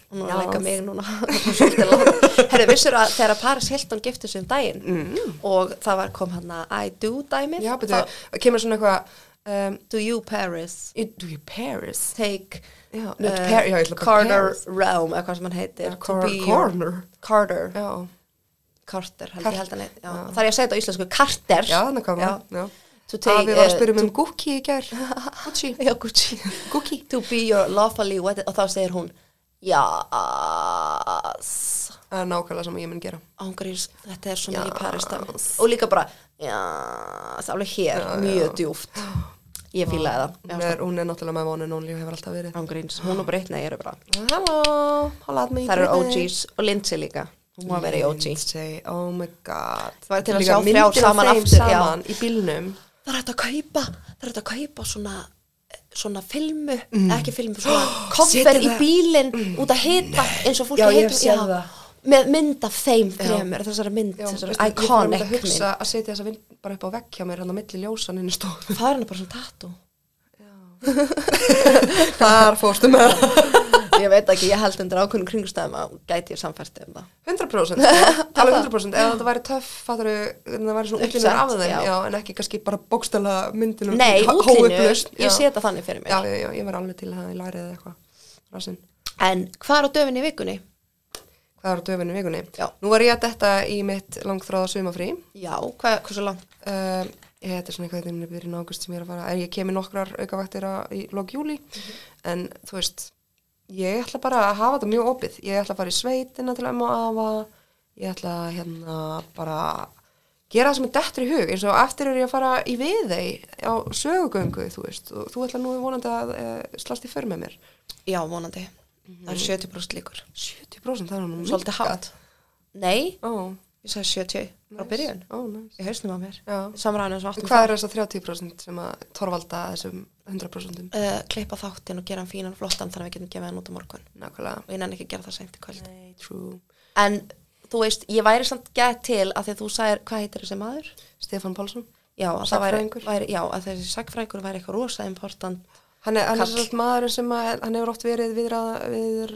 [SPEAKER 2] og núna leika mig núna (laughs) herru, vissur að þegar að Paris Hilton gifti sig um daginn og það var kom hann að I do dæmið
[SPEAKER 1] Mm. Já, betur,
[SPEAKER 2] Þá-
[SPEAKER 1] kemur svona eitthvað um,
[SPEAKER 2] do you Paris
[SPEAKER 1] you- Do you Paris?
[SPEAKER 2] take
[SPEAKER 1] Já,
[SPEAKER 2] uh,
[SPEAKER 1] Par- já, ég ætla bara
[SPEAKER 2] Carter
[SPEAKER 1] Paris.
[SPEAKER 2] Realm eða hvað sem hann heitir
[SPEAKER 1] Já,
[SPEAKER 2] to
[SPEAKER 1] Cor-
[SPEAKER 2] be your-
[SPEAKER 1] Corner.
[SPEAKER 2] Carter
[SPEAKER 1] uh, Já,
[SPEAKER 2] Carter, held
[SPEAKER 1] Carter,
[SPEAKER 2] ég held hann já. Það er ég að segja þetta á íslensku, Carter
[SPEAKER 1] já þannig kom
[SPEAKER 2] Já.
[SPEAKER 1] það
[SPEAKER 2] To
[SPEAKER 1] Afi
[SPEAKER 2] take,
[SPEAKER 1] var að
[SPEAKER 2] eh,
[SPEAKER 1] spyrja mig um Gucci í (laughs) gær Gucci
[SPEAKER 2] Já, Gucci
[SPEAKER 1] (laughs) Gucci
[SPEAKER 2] To be your lawfully wedded Og þá segir hún Jás
[SPEAKER 1] Það er nákvæmlega sem ég mun gera.
[SPEAKER 2] Ángurins, þetta er svo mikið
[SPEAKER 1] Jas.
[SPEAKER 2] Paris dæmi. Og líka bara Jás, alveg hér, mjög djúft Ég fílaði
[SPEAKER 1] Hún
[SPEAKER 2] það
[SPEAKER 1] er, hún er náttúrulega með vonin, hún hefur alltaf verið.
[SPEAKER 2] Ángurins, hún og Brittany eru bara
[SPEAKER 1] Halló, hola að mig.
[SPEAKER 2] Það eru OGs og Lindsay líka Hún var verið í OG
[SPEAKER 1] Lindsay, oh my god.
[SPEAKER 2] Það var til að
[SPEAKER 1] Líka
[SPEAKER 2] sjá
[SPEAKER 1] myndir
[SPEAKER 2] þrjár
[SPEAKER 1] af
[SPEAKER 2] saman
[SPEAKER 1] þeim
[SPEAKER 2] aftur, já.
[SPEAKER 1] Saman í bílnum.
[SPEAKER 2] það er hægt að kaupa það er hægt að kaupa svona svona filmu, ekki filmu svona koffer
[SPEAKER 1] Mm. (gasps) setur
[SPEAKER 2] í
[SPEAKER 1] það- Mm.
[SPEAKER 2] bílinn út að hita eins og fólki
[SPEAKER 1] Já, ég
[SPEAKER 2] hitar-
[SPEAKER 1] sé það.
[SPEAKER 2] með mynd af þeim fremur, þessari mynd,
[SPEAKER 1] veistu,
[SPEAKER 2] þessari
[SPEAKER 1] Ég fór einmitt
[SPEAKER 2] iconic
[SPEAKER 1] að
[SPEAKER 2] mynd
[SPEAKER 1] hugsa að setja þessa vind bara upp á vekk hjá mér hann á milli ljósan inn í stofu.
[SPEAKER 2] það er henni bara svona tattoo
[SPEAKER 1] (laughs) Þar fórstu með það.
[SPEAKER 2] ég veit ekki, ég held undir ákveðnum kringstæðum að gæti ég samfært um það
[SPEAKER 1] 100% sko, alveg 100% ef þetta væri töff, fattur það væri svona útlínur
[SPEAKER 2] Uppsett,
[SPEAKER 1] af þeim,
[SPEAKER 2] já.
[SPEAKER 1] já, en ekki kannski bara bókstala myndinu
[SPEAKER 2] nei,
[SPEAKER 1] há-
[SPEAKER 2] útlínu,
[SPEAKER 1] háupplausn, já.
[SPEAKER 2] ég sé þetta þannig fyrir mig
[SPEAKER 1] já, já, já, ég var alveg til að ég lærið eitthvað rasinn
[SPEAKER 2] en hvað er á döfinni í vikunni?
[SPEAKER 1] hvað er á döfinni vikunni
[SPEAKER 2] Já.
[SPEAKER 1] nú var ég að detta í mitt langþráða sumafrí
[SPEAKER 2] já, hvað, hversu langt?
[SPEAKER 1] um, ég þetta er svona eitthvað þegar byrjun águst sem ég er að fara en ég kemi nokkrar aukavaktir á- í lók júli
[SPEAKER 2] Mhm.
[SPEAKER 1] en þú veist ég ætla bara að hafa þetta mjög opið ég ætla að fara í sveitina til ömmu og afa ég ætla að, hérna bara gera það sem er dettur í hug eins og eftir er ég að fara í viðei á sögugöngu þú veist og þú ætla nú vonandi að e, slast í för með mér
[SPEAKER 2] já, vonandi, það er 70% líkur
[SPEAKER 1] 70% það er nú
[SPEAKER 2] svolítið hátt nei,
[SPEAKER 1] oh,
[SPEAKER 2] ég sagði 70 frá byrjun um
[SPEAKER 1] oh, nice.
[SPEAKER 2] Ég hausnum á mér.
[SPEAKER 1] Já.
[SPEAKER 2] Samræðinu sem
[SPEAKER 1] En
[SPEAKER 2] áttum
[SPEAKER 1] Hvað er þess að 30% sem að torvalda þessum 100%?
[SPEAKER 2] uh, klippa þáttinn og gera hann fínan og flottan þannig að við getum gefið hann út á morgun.
[SPEAKER 1] Nákvæmlega.
[SPEAKER 2] Og ég nenni ekki að gera það seint í kvöld.
[SPEAKER 1] Nei, true.
[SPEAKER 2] En þú veist, ég væri samt gæð til að því að þú sagðir, hvað heitir þessi maður?
[SPEAKER 1] Stefán Pálsson.
[SPEAKER 2] já, að það væri,
[SPEAKER 1] Sagnfræðingur.
[SPEAKER 2] væri, já, að þessi sakfræðingur væri eitthvað rosa important
[SPEAKER 1] Hann er, hann er
[SPEAKER 2] Kall.
[SPEAKER 1] svolítið maður sem að, hann hefur oft verið viðrað, viður,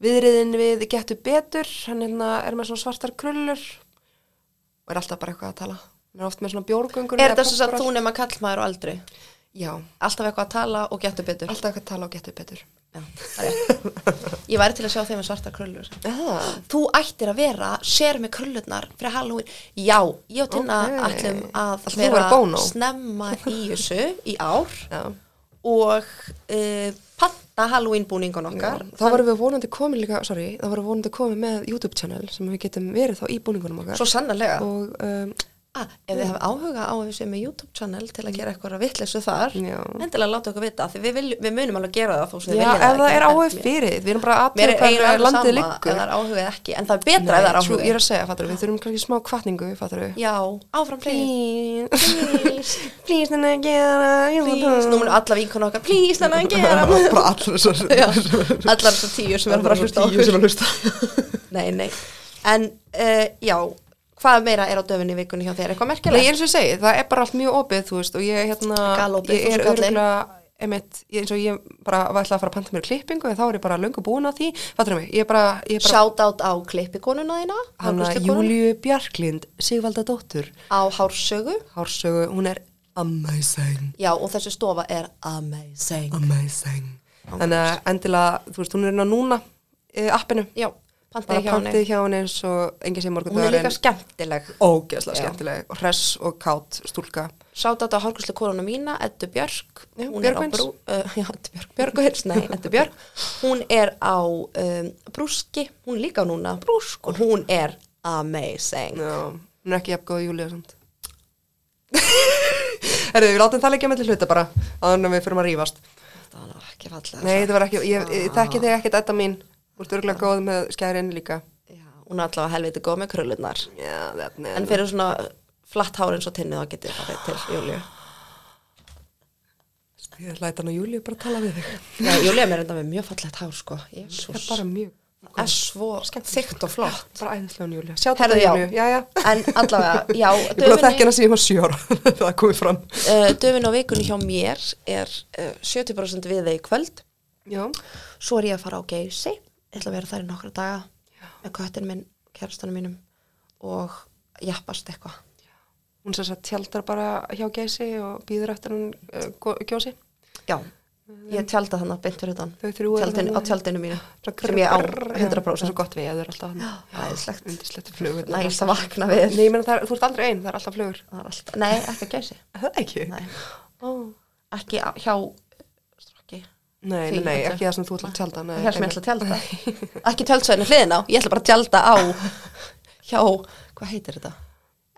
[SPEAKER 1] viðriðin við getur betur, hann hérna er með svona svartar krullur og er alltaf bara eitthvað að tala. Hann er oft með svona bjórgöngur.
[SPEAKER 2] er þetta sem sagt þú nema kallmaður og aldrei
[SPEAKER 1] Já,
[SPEAKER 2] alltaf eitthvað að tala og getur betur
[SPEAKER 1] alltaf eitthvað að tala og getur betur.
[SPEAKER 2] já, það er rétt. ég væri til að sjá þeim með svarta krullur
[SPEAKER 1] Eða,
[SPEAKER 2] þú ættir að vera sér með krullurnar fyrir Halloween, já, ég og Tinna
[SPEAKER 1] Ókei.
[SPEAKER 2] ætlum að
[SPEAKER 1] Þú er Bono.
[SPEAKER 2] snemma í
[SPEAKER 1] (laughs)
[SPEAKER 2] þessu í ár
[SPEAKER 1] já.
[SPEAKER 2] og uh, panta Halloween búningun okkar
[SPEAKER 1] Þá vorum við vonandi komin líka, sorry, þá vorum við vonandi komin með YouTube channel sem við getum verið þá í búningunum okkar.
[SPEAKER 2] svo sannarlega
[SPEAKER 1] Og, um,
[SPEAKER 2] ah, ef þið hafa áhuga á að við séum með YouTube channel til að gera eitthvað að vitleysu þar
[SPEAKER 1] Mm. Já.
[SPEAKER 2] endilega láta okkur vita því við, viljum, við munum alveg gera það þó sem
[SPEAKER 1] já,
[SPEAKER 2] við
[SPEAKER 1] ef
[SPEAKER 2] viljum
[SPEAKER 1] það
[SPEAKER 2] ekki
[SPEAKER 1] er
[SPEAKER 2] en
[SPEAKER 1] áhug
[SPEAKER 2] mér-
[SPEAKER 1] fyrir, við erum bara
[SPEAKER 2] mér er
[SPEAKER 1] að athuga
[SPEAKER 2] eiginlega
[SPEAKER 1] hvar landið
[SPEAKER 2] sama ef
[SPEAKER 1] liggur.
[SPEAKER 2] það er áhuga eða ekki en það er betra ef það er
[SPEAKER 1] trú,
[SPEAKER 2] áhuga
[SPEAKER 1] ég er að segja, fattar við þurfum kannski smá kvartningu, fattar við
[SPEAKER 2] já, áfram please
[SPEAKER 1] please, (laughs) please þannig að gera
[SPEAKER 2] please, nú munum alla vinkun okkar
[SPEAKER 1] (laughs)
[SPEAKER 2] please þannig að gera
[SPEAKER 1] bara allar þessar
[SPEAKER 2] Já, allar þessar tíu sem er bara að hlusta á okkur
[SPEAKER 1] að hlusta (laughs)
[SPEAKER 2] nei, nei, en uh, já hvað meira er á döfunni í vikunni hjá þér, eitthvað
[SPEAKER 1] Nei,
[SPEAKER 2] merkilegt?
[SPEAKER 1] eins og ég segi, það er bara allt mjög opið, þú veist, og ég, hérna,
[SPEAKER 2] Galopið,
[SPEAKER 1] ég er
[SPEAKER 2] þúsund kalli.
[SPEAKER 1] örgulega, emitt, ég, eins og ég bara var ætlað að fara að panta mér klippingu, en þá er ég bara löngu búin að því, fattur mig, ég er bara, ég er bara,
[SPEAKER 2] Shout out á klippikonuna þína
[SPEAKER 1] hana,
[SPEAKER 2] hárgreiðslukonuna,
[SPEAKER 1] Júliu Bjarklind, Sigvalda dóttur,
[SPEAKER 2] á Hársögu
[SPEAKER 1] Hársögu, hún er amazing,
[SPEAKER 2] Já, og þessi stofa er amazing
[SPEAKER 1] amazing, þannig að endilega, þú veist, hún er inn á núna, eh, appinu,
[SPEAKER 2] Já,
[SPEAKER 1] bara
[SPEAKER 2] pantaði hjá henni
[SPEAKER 1] pantið hjá henni eins og engi sem morgun
[SPEAKER 2] Hún er líka skemmtileg
[SPEAKER 1] ógeðslega
[SPEAKER 2] Já.
[SPEAKER 1] skemmtileg, og hress og kátt stúlka
[SPEAKER 2] Shout out á hárkurslu korona mína, Eddu Björk
[SPEAKER 1] Já,
[SPEAKER 2] Hún er á
[SPEAKER 1] Björgvins.
[SPEAKER 2] brú- uh, (laughs) Já, Eddu Björk, Björgvins, (laughs) nei, Eddu Björk Hún er á um, brúski Hún er líka núna á brúsk og hún er amazing
[SPEAKER 1] Já, hún er ekki jafn góð Júlía samt (laughs) Herðu, við látum það leikja mellir hluta bara áður en við fyrir að rífast
[SPEAKER 2] Það var nú ekki fallega
[SPEAKER 1] Nei, þetta var ekki, ég, ég þekki þig ekkert þetta mín Þú ert örgulega góð með skærin líka
[SPEAKER 2] Já, Hún er allavega helviti góð með kröllurnar
[SPEAKER 1] Já, þetta
[SPEAKER 2] En fyrir svona flatt hár eins og tinnu þá getið það til Júlíu
[SPEAKER 1] Ég læt hann að Júlíu bara tala við þig
[SPEAKER 2] Já, Júlíu er mér enda með mjög fallegt hár sko
[SPEAKER 1] Það er
[SPEAKER 2] Jésús
[SPEAKER 1] bara mjög,
[SPEAKER 2] er svo þykkt og flott
[SPEAKER 1] bara æðislega hún Júlíu Sjá þetta
[SPEAKER 2] Herðu, já.
[SPEAKER 1] Júlíu, já, já
[SPEAKER 2] en allavega, já
[SPEAKER 1] Ég er búin að þekki
[SPEAKER 2] döfin,
[SPEAKER 1] hana síðan var sjö ára (laughs) Það er komið fram
[SPEAKER 2] uh, döfin á vikunni hjá mér er uh, 70% við þeir í kvöld
[SPEAKER 1] Já,
[SPEAKER 2] svo er ég að fara á geysi ég ætla að vera þar í nokkra daga með köttin minn, kjærstanum mínum og jappast eitthvað
[SPEAKER 1] hún sér að tjaldar bara hjá geysi og býður eftir hún uh, gjósi
[SPEAKER 2] já, ég tjálta þannig beint fyrir utan
[SPEAKER 1] Mm. Þau þrjú eru
[SPEAKER 2] Tjaldin,
[SPEAKER 1] þarna.
[SPEAKER 2] á tjaldinu mínu sem ég á 100%
[SPEAKER 1] Það er svo gott við að þau eru alltaf hann
[SPEAKER 2] Æðislegt.
[SPEAKER 1] Undislegt flugur
[SPEAKER 2] næst að vakna við
[SPEAKER 1] Nei, ég meina það er, þú ert aldrei einn, það er alltaf flugur
[SPEAKER 2] Það er alltaf- nei, ekki að geysi
[SPEAKER 1] Það ekki?
[SPEAKER 2] Nei.
[SPEAKER 1] Ó.
[SPEAKER 2] ekki á- hjá strakki
[SPEAKER 1] Nei, nei,
[SPEAKER 2] Því,
[SPEAKER 1] nei,
[SPEAKER 2] þetta-
[SPEAKER 1] ekki það sem þú ætla að tjalda nei,
[SPEAKER 2] hér sem ég
[SPEAKER 1] einmitt.
[SPEAKER 2] ætla að tjálta (laughs) ekki tjáltsvæðinu hliðin á, ég ætla bara að tjálta á hjá, hvað heitir þetta?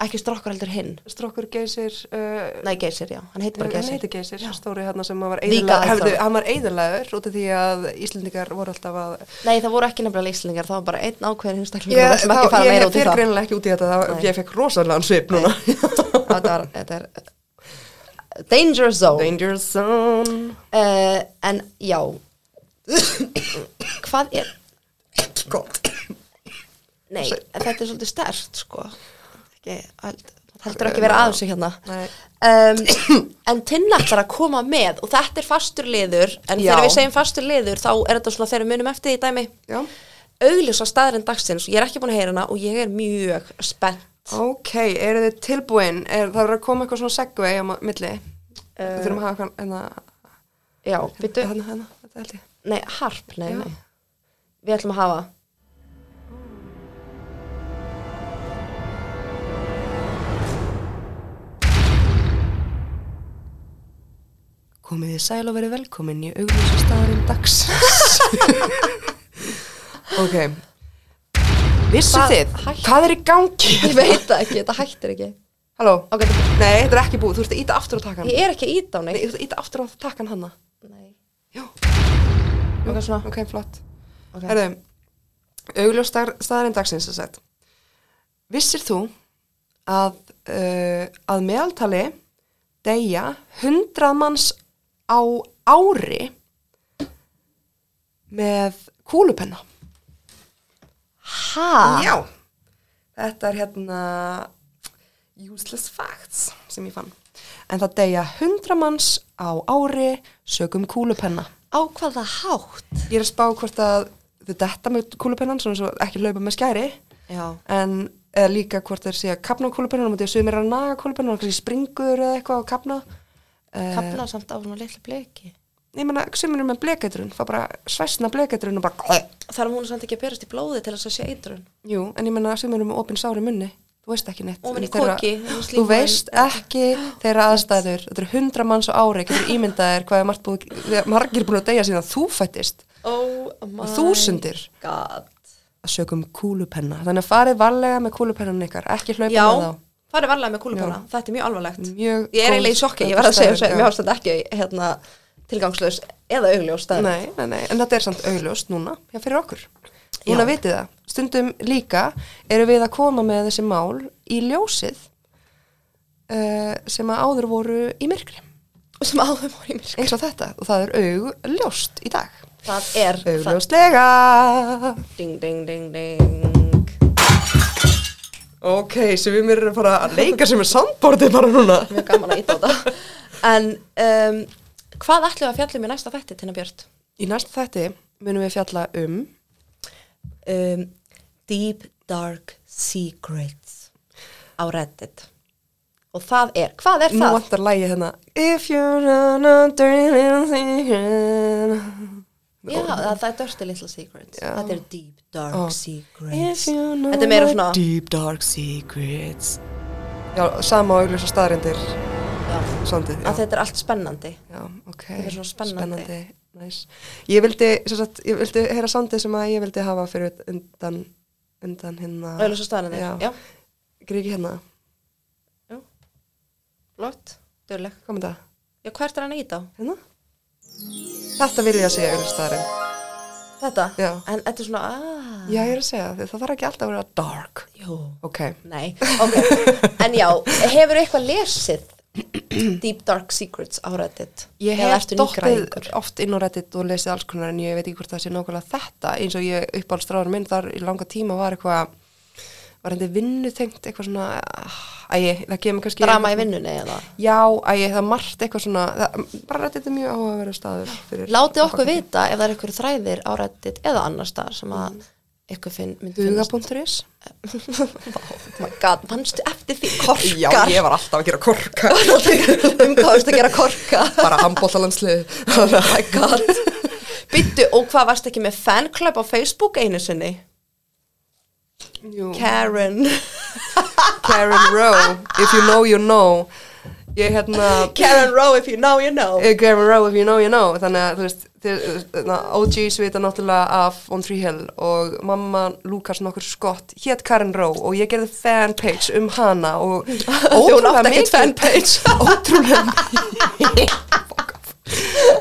[SPEAKER 2] ekki strokkur heldur hinn
[SPEAKER 1] Strokkur geysir uh,
[SPEAKER 2] nei geysir, já, hann heitir bara
[SPEAKER 1] Hann
[SPEAKER 2] geysir
[SPEAKER 1] heitir geysir, stóri hérna sem hann var
[SPEAKER 2] Líka
[SPEAKER 1] eyðilega-
[SPEAKER 2] ætlaður.
[SPEAKER 1] Hefðu, Hann var eiðurlegaður út af því að Íslendingar voru alltaf að
[SPEAKER 2] nei, það voru ekki nefnilega íslendingar, það var bara einn ákveðin hinstaklingur,
[SPEAKER 1] Ég,
[SPEAKER 2] við ætlum ekki að
[SPEAKER 1] þá,
[SPEAKER 2] fara
[SPEAKER 1] ég
[SPEAKER 2] meira út í
[SPEAKER 1] fyrir
[SPEAKER 2] það
[SPEAKER 1] greinilega ekki út í þetta það,
[SPEAKER 2] Nei.
[SPEAKER 1] Ég fekk rosalega svip núna
[SPEAKER 2] þetta var, þetta er uh, danger zone
[SPEAKER 1] Danger zone
[SPEAKER 2] uh, en já
[SPEAKER 1] (coughs)
[SPEAKER 2] hvað er
[SPEAKER 1] Gott
[SPEAKER 2] nei, en þetta er svolítið stert sko ekki, held- heldur ekki vera aðeins hérna
[SPEAKER 1] Nei.
[SPEAKER 2] um, en Tinna ætlar að koma með og þetta er fastur liður en
[SPEAKER 1] Já.
[SPEAKER 2] þegar við segjum fastur liður þá er þetta svona þegar við munum eftir því dæmi
[SPEAKER 1] Já.
[SPEAKER 2] augljósa staðarinn dagsins, ég er ekki búin að heyra hana og ég er mjög spennt
[SPEAKER 1] Ok, eru þið tilbúin? Er, það verður að koma eitthvað svona segvei á ma- milli. Við
[SPEAKER 2] Eh,
[SPEAKER 1] þurfum að hafa eitthvað, en það,
[SPEAKER 2] Um, já, byttu,
[SPEAKER 1] hérna, hérna, þetta held ég.
[SPEAKER 2] nei, harp, nei,
[SPEAKER 1] Já.
[SPEAKER 2] nei við ætlum að hafa (laughs)
[SPEAKER 1] Komið þið sæl og verið velkomin í augljósa staðarinn dags. ok. Vissu
[SPEAKER 2] Hvað-
[SPEAKER 1] þið?
[SPEAKER 2] hætt-
[SPEAKER 1] Hvað er í gangi?
[SPEAKER 2] ég (laughs) veit það ekki, þetta hættir ekki
[SPEAKER 1] Halló?
[SPEAKER 2] ok, þetta-
[SPEAKER 1] Nei, þetta er ekki búið. Þú ert að íta aftur á takkan.
[SPEAKER 2] ég er ekki ít á
[SPEAKER 1] Nei,
[SPEAKER 2] neitt
[SPEAKER 1] þú ert að íta aftur á takkan hanna.
[SPEAKER 2] nei.
[SPEAKER 1] Já.
[SPEAKER 2] ok, svona
[SPEAKER 1] Ok, flott.
[SPEAKER 2] Ok.
[SPEAKER 1] Okay. Herðu, augljós staðar- staðarinn dagsins að sett. Vissir þú að, uh, að meðaltali deyja 100 manns á ári með kúlupenna?
[SPEAKER 2] ha,
[SPEAKER 1] Já. Þetta er hérna, useless facts sem ég fann. En það deyja 100 manns á ári sögum kúlupenna.
[SPEAKER 2] Á hvaða hátt?
[SPEAKER 1] Ég er að spá hvort að þau detta með kúlupennan svona svo ekki laupa með skæri
[SPEAKER 2] Já.
[SPEAKER 1] en eða líka hvort þeir sé að kapna á kúlupennunum og því að sögum er að naga kúlupennunum og kannski springur eða eitthvað á kapna. Uh,
[SPEAKER 2] Kapna samt á svona litla bleki.
[SPEAKER 1] ég meina, sögum er með blekeitrun, fá bara svæsna blekeitrun og bara
[SPEAKER 2] Þarf hún samt ekki að berast í blóði til þess að sé eitrun.
[SPEAKER 1] Jú, en ég menna sem eru með opinn sár í munni þú veist ekki neitt
[SPEAKER 2] Ofan í
[SPEAKER 1] En þeirra-
[SPEAKER 2] koki, þú
[SPEAKER 1] þú
[SPEAKER 2] slímar
[SPEAKER 1] veist
[SPEAKER 2] inn.
[SPEAKER 1] ekki
[SPEAKER 2] (gasps)
[SPEAKER 1] þeirra aðstæður þetta eru hundra manns á ári, getur ímyndað þér hvað er margt búið, þegar margir búin að deyja síðan þú fættist,
[SPEAKER 2] Oh my
[SPEAKER 1] þúsundir
[SPEAKER 2] god.
[SPEAKER 1] að sögum kúlupenna, þannig að farið varlega með kúlupennan ykkar, ekki hlaupa
[SPEAKER 2] Já,
[SPEAKER 1] með þá
[SPEAKER 2] farið varlega með kúlupenna. Þetta er mjög alvarlegt.
[SPEAKER 1] Mjög góð
[SPEAKER 2] ég er eiginlega í sjokki, ég verð að segja
[SPEAKER 1] staður,
[SPEAKER 2] þess að
[SPEAKER 1] já.
[SPEAKER 2] mér ástand ekki hérna, tilgangslaus eða augljós staður.
[SPEAKER 1] Nei, nei, nei, en þetta er samt augljóst núna, já fyrir okkur núna
[SPEAKER 2] Já.
[SPEAKER 1] vitið það, stundum líka eru við að koma með þessi mál í ljósið uh, sem að áður voru í myrkri
[SPEAKER 2] Og sem áður voru í mér. sko.
[SPEAKER 1] eins og þetta og það er augljóst í dag
[SPEAKER 2] Það er það.
[SPEAKER 1] augljóstlega
[SPEAKER 2] Ding, ding, ding, ding.
[SPEAKER 1] ok, sem við mér er að fara að leika sem er sandbordi bara núna
[SPEAKER 2] Mjög gaman að íta á þetta. En um, hvað ætlum við að fjallum í næsta þætti, Tina Björn?
[SPEAKER 1] í næsta þætti munum við fjalla um
[SPEAKER 2] Um, deep Dark Secrets á Reddit. Og það er, hvað er
[SPEAKER 1] nú
[SPEAKER 2] það?
[SPEAKER 1] vantar lægi hérna if you're not understanding
[SPEAKER 2] Já, það, það er Dirty Little Secrets.
[SPEAKER 1] Já.
[SPEAKER 2] Þetta er Deep Dark
[SPEAKER 1] Ó.
[SPEAKER 2] Secrets.
[SPEAKER 1] if you know
[SPEAKER 2] Þetta er meira
[SPEAKER 1] my
[SPEAKER 2] svona-
[SPEAKER 1] deep dark secrets já, sama og augljósa staðrindir
[SPEAKER 2] Já.
[SPEAKER 1] sandið,
[SPEAKER 2] Að þetta er allt spennandi.
[SPEAKER 1] Já, ok.
[SPEAKER 2] Þetta er svona spennandi.
[SPEAKER 1] Spennandi, næs. Ég vildi, sem sagt, ég vildi heyra sandið sem að ég vildi hafa fyrir undan, undan hérna.
[SPEAKER 2] Auðvitað staðanir, já.
[SPEAKER 1] Já. Gríki hérna.
[SPEAKER 2] já. Lott, dörleg.
[SPEAKER 1] Hvað með það?
[SPEAKER 2] Já, hvert er hann í þá?
[SPEAKER 1] Hérna? Þetta vil ég að segja auðvitað staðarinn.
[SPEAKER 2] Þetta?
[SPEAKER 1] Já.
[SPEAKER 2] En þetta er svona, "Ah." aaa.
[SPEAKER 1] Já, ég er að segja það. Það þarf ekki alltaf að vera dark.
[SPEAKER 2] Jú.
[SPEAKER 1] Ok.
[SPEAKER 2] Nei, ok. en já, hefur eitthvað lesið Deep Dark Secrets á Reddit?
[SPEAKER 1] Ég
[SPEAKER 2] Eða
[SPEAKER 1] hef
[SPEAKER 2] ertu nýgræðingur?
[SPEAKER 1] dottið oft inn á Reddit og lesið alls konar en ég veit ekki hvort það sé nákvæmlega þetta eins og ég uppáhaldstráður minn þar í langa tíma var eitthvað var hendur vinnutengt eitthvað svona æg, það kemur kannski
[SPEAKER 2] Drama í vinnunni eða?
[SPEAKER 1] Já, æg, það er margt eitthvað svona það, bara Reddit er mjög áhugaverður staður fyrir
[SPEAKER 2] Látið okkur vita ef það er eitthvað þræðir á Reddit eða annar staðar sem að eitthvað finn, myndi finnast.
[SPEAKER 1] Huga.is
[SPEAKER 2] Oh my god, mannstu eftir því
[SPEAKER 1] Já,
[SPEAKER 2] korkar?
[SPEAKER 1] ég var alltaf að gera korka
[SPEAKER 2] (laughs) um hvað varstu að gera korka?
[SPEAKER 1] bara handbóllalandslið
[SPEAKER 2] Oh my god Byttu, og hvað varst ekki með fanclub á Facebook einu sinni?
[SPEAKER 1] Jú.
[SPEAKER 2] Karen
[SPEAKER 1] Karen Rowe, if you know you know ég hérna
[SPEAKER 2] Karen Rowe if you know you know
[SPEAKER 1] Eh, Graham Rowe if you know you know þannig að þú veist þið- þarna, OGs vita náttúrulega af On Three Hill og mamma Lukas nokkur skott hétt Karen Rowe og ég gerði fanpage um hana (laughs) og
[SPEAKER 2] Hún
[SPEAKER 1] ótrúlega
[SPEAKER 2] átti ekkert
[SPEAKER 1] mikið
[SPEAKER 2] fanpage
[SPEAKER 1] (laughs) ótrúlega mikið Fuck off.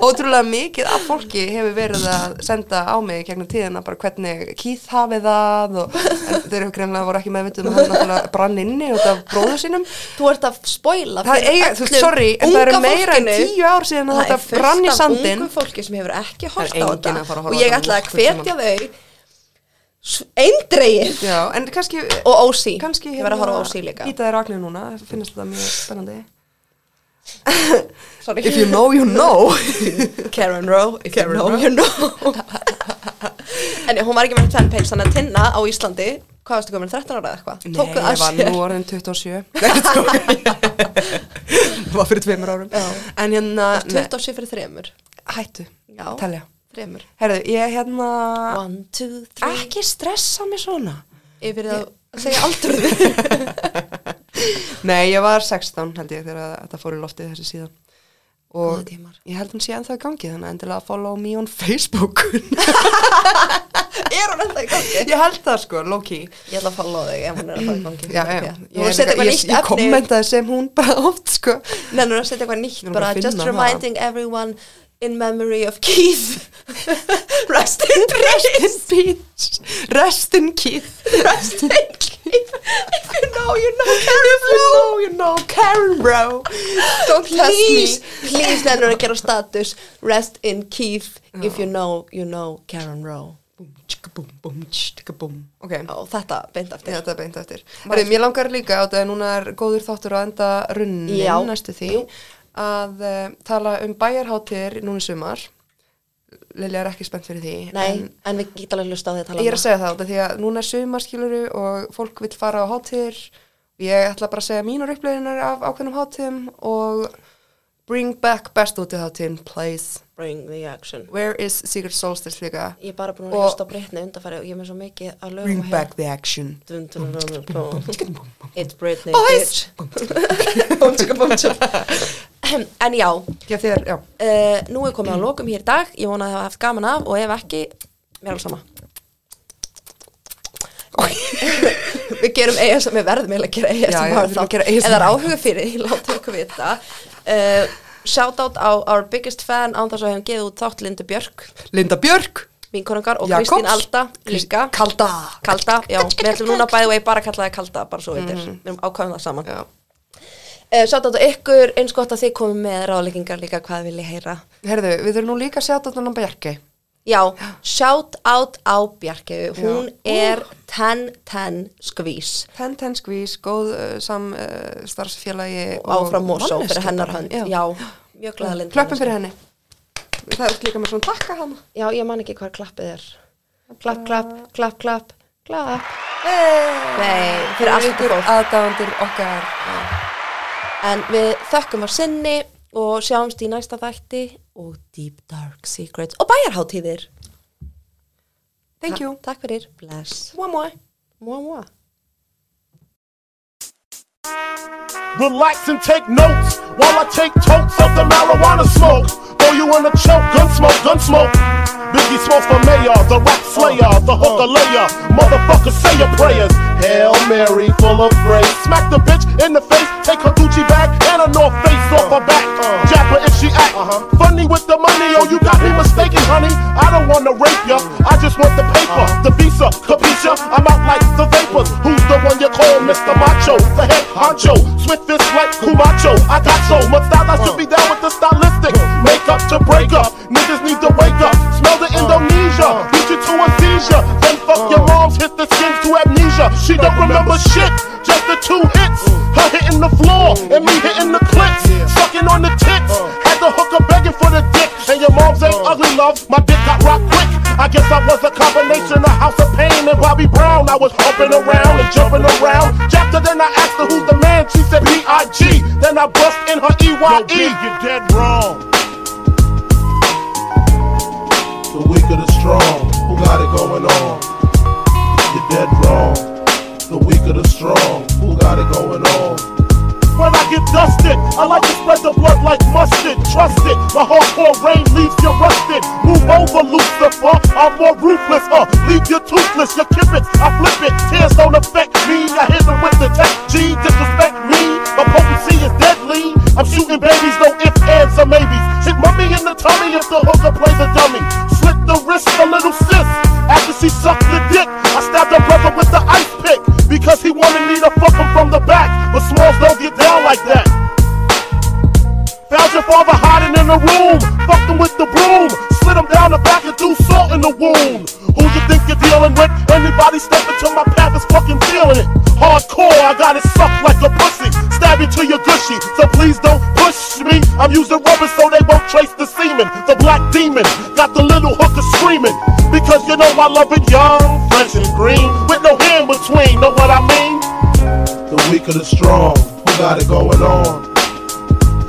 [SPEAKER 1] ótrúlega mikið af fólki hefur verið að senda á mig gegnum tíðina bara hvernig Keith hafi það og en þeir eru greinlega voru ekki meðvitið um að hann náttúrulega brann inni út af bróðu sínum
[SPEAKER 2] Þú ert að spoila
[SPEAKER 1] Það
[SPEAKER 2] fyrir
[SPEAKER 1] eiga, þú veist,
[SPEAKER 2] öllu
[SPEAKER 1] sorry, en það
[SPEAKER 2] unga
[SPEAKER 1] eru meira en
[SPEAKER 2] fólkinu.
[SPEAKER 1] tíu ár síðan að
[SPEAKER 2] Það er
[SPEAKER 1] þetta brann í
[SPEAKER 2] fullt af
[SPEAKER 1] sandinn.
[SPEAKER 2] ungu fólki sem hefur ekki
[SPEAKER 1] Það er
[SPEAKER 2] hort á
[SPEAKER 1] enginn
[SPEAKER 2] þetta
[SPEAKER 1] að fara að horfa
[SPEAKER 2] og
[SPEAKER 1] á
[SPEAKER 2] ég
[SPEAKER 1] þetta
[SPEAKER 2] ætla að
[SPEAKER 1] nokkurn
[SPEAKER 2] hvetja þau eindreið
[SPEAKER 1] Já, en kannski eh,
[SPEAKER 2] og ósí
[SPEAKER 1] kannski hérna
[SPEAKER 2] Ég verð að horfa á ósí líka
[SPEAKER 1] Íta þér agni núna, finnst þetta mjög spennandi
[SPEAKER 2] Sorry.
[SPEAKER 1] If you know, you (laughs) know
[SPEAKER 2] Karen Rowe if
[SPEAKER 1] Karen
[SPEAKER 2] you know
[SPEAKER 1] Rowe.
[SPEAKER 2] you know En hún var ekki með fanpage þannig að Tinna á Íslandi hvað varstu komin 13 ára eða eitthvað
[SPEAKER 1] Nei, ég
[SPEAKER 2] Tók það að
[SPEAKER 1] var
[SPEAKER 2] sér.
[SPEAKER 1] nú orðin 27 (laughs) Nei, þetta tók Það var fyrir tveimur árum
[SPEAKER 2] Já.
[SPEAKER 1] En hérna, nei,
[SPEAKER 2] 27 fyrir þremur
[SPEAKER 1] hættu,
[SPEAKER 2] Já,
[SPEAKER 1] telja
[SPEAKER 2] þremur
[SPEAKER 1] Herðu, ég hérna
[SPEAKER 2] 1, 2, 3
[SPEAKER 1] Ekki stressa mig svona
[SPEAKER 2] Yfir það að segja (laughs) aldrei
[SPEAKER 1] Nei, ég var 16 held ég þegar þetta fór í loftið þessi síðan
[SPEAKER 2] Góða
[SPEAKER 1] Og
[SPEAKER 2] tímar.
[SPEAKER 1] ég held hún sé ennþá í gangi þannig að endilega follow me on Facebook
[SPEAKER 2] Er hún alltaf í gangi?
[SPEAKER 1] Ég held það sko, low-key
[SPEAKER 2] Ég ætla að follow þig ef hún er alltaf í gangi
[SPEAKER 1] já, já, já.
[SPEAKER 2] Nú
[SPEAKER 1] Ég,
[SPEAKER 2] setja
[SPEAKER 1] ég,
[SPEAKER 2] eitthvað
[SPEAKER 1] ég,
[SPEAKER 2] nýtt
[SPEAKER 1] ég
[SPEAKER 2] efni
[SPEAKER 1] kommentaði sem hún bara oft sko.
[SPEAKER 2] Nei, nú er að setja eitthvað nýtt
[SPEAKER 1] Ég er bara
[SPEAKER 2] bara
[SPEAKER 1] að
[SPEAKER 2] Just
[SPEAKER 1] finna það.
[SPEAKER 2] reminding everyone in memory of Keith (laughs) Rest
[SPEAKER 1] (laughs)
[SPEAKER 2] in peace
[SPEAKER 1] Beach, rest in Keith
[SPEAKER 2] Rest in peace If you know, you know
[SPEAKER 1] If you know, you know, Karen bro Don't
[SPEAKER 2] please,
[SPEAKER 1] test me
[SPEAKER 2] please nennur að gera status Rest in Keith If you know, you know Karen Rowe
[SPEAKER 1] Búm, tjika, búm, búm, tjika, búm. Ok,
[SPEAKER 2] og þetta beint eftir
[SPEAKER 1] þetta er beint eftir. Heru, mér langar líka á þetta að núna er góður þáttur að enda runnin
[SPEAKER 2] Já.
[SPEAKER 1] næstu því
[SPEAKER 2] Jú.
[SPEAKER 1] að uh, tala um bæjarháttir núna í sumar. Lilja er ekki spennt fyrir því.
[SPEAKER 2] Nei,
[SPEAKER 1] en
[SPEAKER 2] en, við getum alveg hlusta á því að tala
[SPEAKER 1] Ég er að segja það út af því að núna er sumarskiluru og fólk vil fara á hátíðir. Ég ætla bara að segja mínur uppleginar af ákveðnum hátíðum og bring back best út í hátíðin, please.
[SPEAKER 2] Bring the action
[SPEAKER 1] Where is Secret Solstice líka?
[SPEAKER 2] Ég er bara búin að
[SPEAKER 1] Og-
[SPEAKER 2] hlusta á breytni undarfæri og ég er með svo mikið að lögum
[SPEAKER 1] Bring back the action.
[SPEAKER 2] Dun, dun, dun, dun, dun. It's Britney
[SPEAKER 1] Boys!
[SPEAKER 2] Bómtjaka, bómtjaka (laughs) En já,
[SPEAKER 1] Já, þér, já.
[SPEAKER 2] uh, nú er komið að lokum hér í dag Ég vona að það hafa haft gaman af og ef ekki Mér er alveg sama (laughs) Við gerum ASMR, við verðum eiginlega að gera
[SPEAKER 1] Já, já, við þurfum að
[SPEAKER 2] ASMR þátt.
[SPEAKER 1] gera
[SPEAKER 2] Ef það er
[SPEAKER 1] ASMR.
[SPEAKER 2] áhuga fyrir, (laughs) því, látið okkur vita uh, Shoutout á our biggest fan án þess að við hefum geðið út þátt Lindu Björk
[SPEAKER 1] Linda Björk.
[SPEAKER 2] vinkonungar og
[SPEAKER 1] Jakobs.
[SPEAKER 2] Kristín Alda
[SPEAKER 1] Krist-
[SPEAKER 2] líka
[SPEAKER 1] Kalda.
[SPEAKER 2] Kalda, já, við ætlum núna bæði vegi bara að kalla það Kalda Mm. bara svo veitir, við erum ákvæðum það saman
[SPEAKER 1] Já.
[SPEAKER 2] uh, Sjátt á ykkur, eins gott að þið komum með ráðleggingar líka hvað þið viljið heyra
[SPEAKER 1] Herðu, við þurfum nú líka að sjá þetta á Bjarki.
[SPEAKER 2] Já, sjátt átt á Bjarki hún
[SPEAKER 1] Já.
[SPEAKER 2] er 10-10 skvís
[SPEAKER 1] Ten Ten Squeeze, góð uh, sam uh, starfsfélagi
[SPEAKER 2] áfram Mosó
[SPEAKER 1] manneskja
[SPEAKER 2] fyrir hennar
[SPEAKER 1] bara,
[SPEAKER 2] hönd
[SPEAKER 1] Já.
[SPEAKER 2] Já, mjög glæða lind
[SPEAKER 1] Klöppum fyrir henni. Það er líka með svona takka hana.
[SPEAKER 2] Já, ég man ekki hvað klappið er Klapp, klapp, klapp, klapp, klapp
[SPEAKER 1] Hey.
[SPEAKER 2] Nei, fyrir allt þetta
[SPEAKER 1] ykkur
[SPEAKER 2] fólk
[SPEAKER 1] aðdáðandur okkar.
[SPEAKER 2] En við þökkum á sinni og sjáumst í næsta þætti og Deep Dark Secrets og bæjarháttíðir.
[SPEAKER 1] Thank you.
[SPEAKER 2] Ta takk fyrir. Bless.
[SPEAKER 1] Mua mua.
[SPEAKER 2] Mua mua.
[SPEAKER 3] Relax and take notes while I take totes of the marijuana smoke. Throw you in a choke, gun smoke, gun smoke. Biggie smokes for mayor, the rap slayer, the hooker layer. Motherfucker, say your prayers. Hail Mary, full of grace. Smack the bitch in the face, take her Gucci bag and a North Face off her back. Jack her if she act funny with the money. Oh, you got me mistaken, honey. I don't wanna rape ya, I just want the paper, the visa, capisha. I'm out like the vapors. Who's the one you call Mr. Macho? The head honcho, swift fist like Kumacho. I got so much style, I should be down with the stylistic. Makeup to break up, niggas need to wake up. Smell the Indonesia, beat you to a seizure. Then fuck your moms, hit the skins to amnesia. She don't remember shit, just the two hits. Her hitting the floor and me hitting the clips. Sucking on the tits, had the hooker begging for the dick. And your mom's ain't ugly love, my dick got rock quick. I guess I was a combination of House of Pain and Bobby Brown. I was humping around and jumping around. Chapter, then I asked her who's the man. She said B.I.G. Then I bust in her E E.Y.E. you're dead wrong. The weak of the strong, who got it going on? You're dead wrong. The weak of the strong, who got it going on? when I get dusted. I like to spread the blood like mustard. Trust it, my hardcore rain leaves you rusted. Move over, Lucifer. I'm more ruthless, huh? Leave you toothless, you kip it. I flip it. Tears don't affect me. I hit them with the tech G. Disrespect me. My potency is deadly. I'm shooting babies, no ifs, ands, or maybes. Hit mummy in the tummy if the hooker plays a dummy. Slit the wrist, a little sis. After she sucked the dick, I stabbed her brother with the ice pick because he wanted me to fuck him from the back. But Smalls don't get down like that. Found your father hiding in the room. Fucked him with the broom. Slid him down the back and threw salt in the wound. Who you think you're dealing with? Anybody stepping to my path is fucking feeling it. Hardcore, I got it sucked like a pussy. Stab you to your gushy, so please don't push me. I'm using rubber so they won't trace the semen. The black demon got the little hooker screaming. Because you know I love it young, fresh and green. With no hand between, know what I mean? The weak of the strong, who got it going on?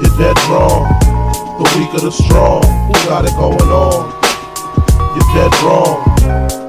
[SPEAKER 3] You're dead wrong. The weak of the strong, who got it going on? You're dead wrong.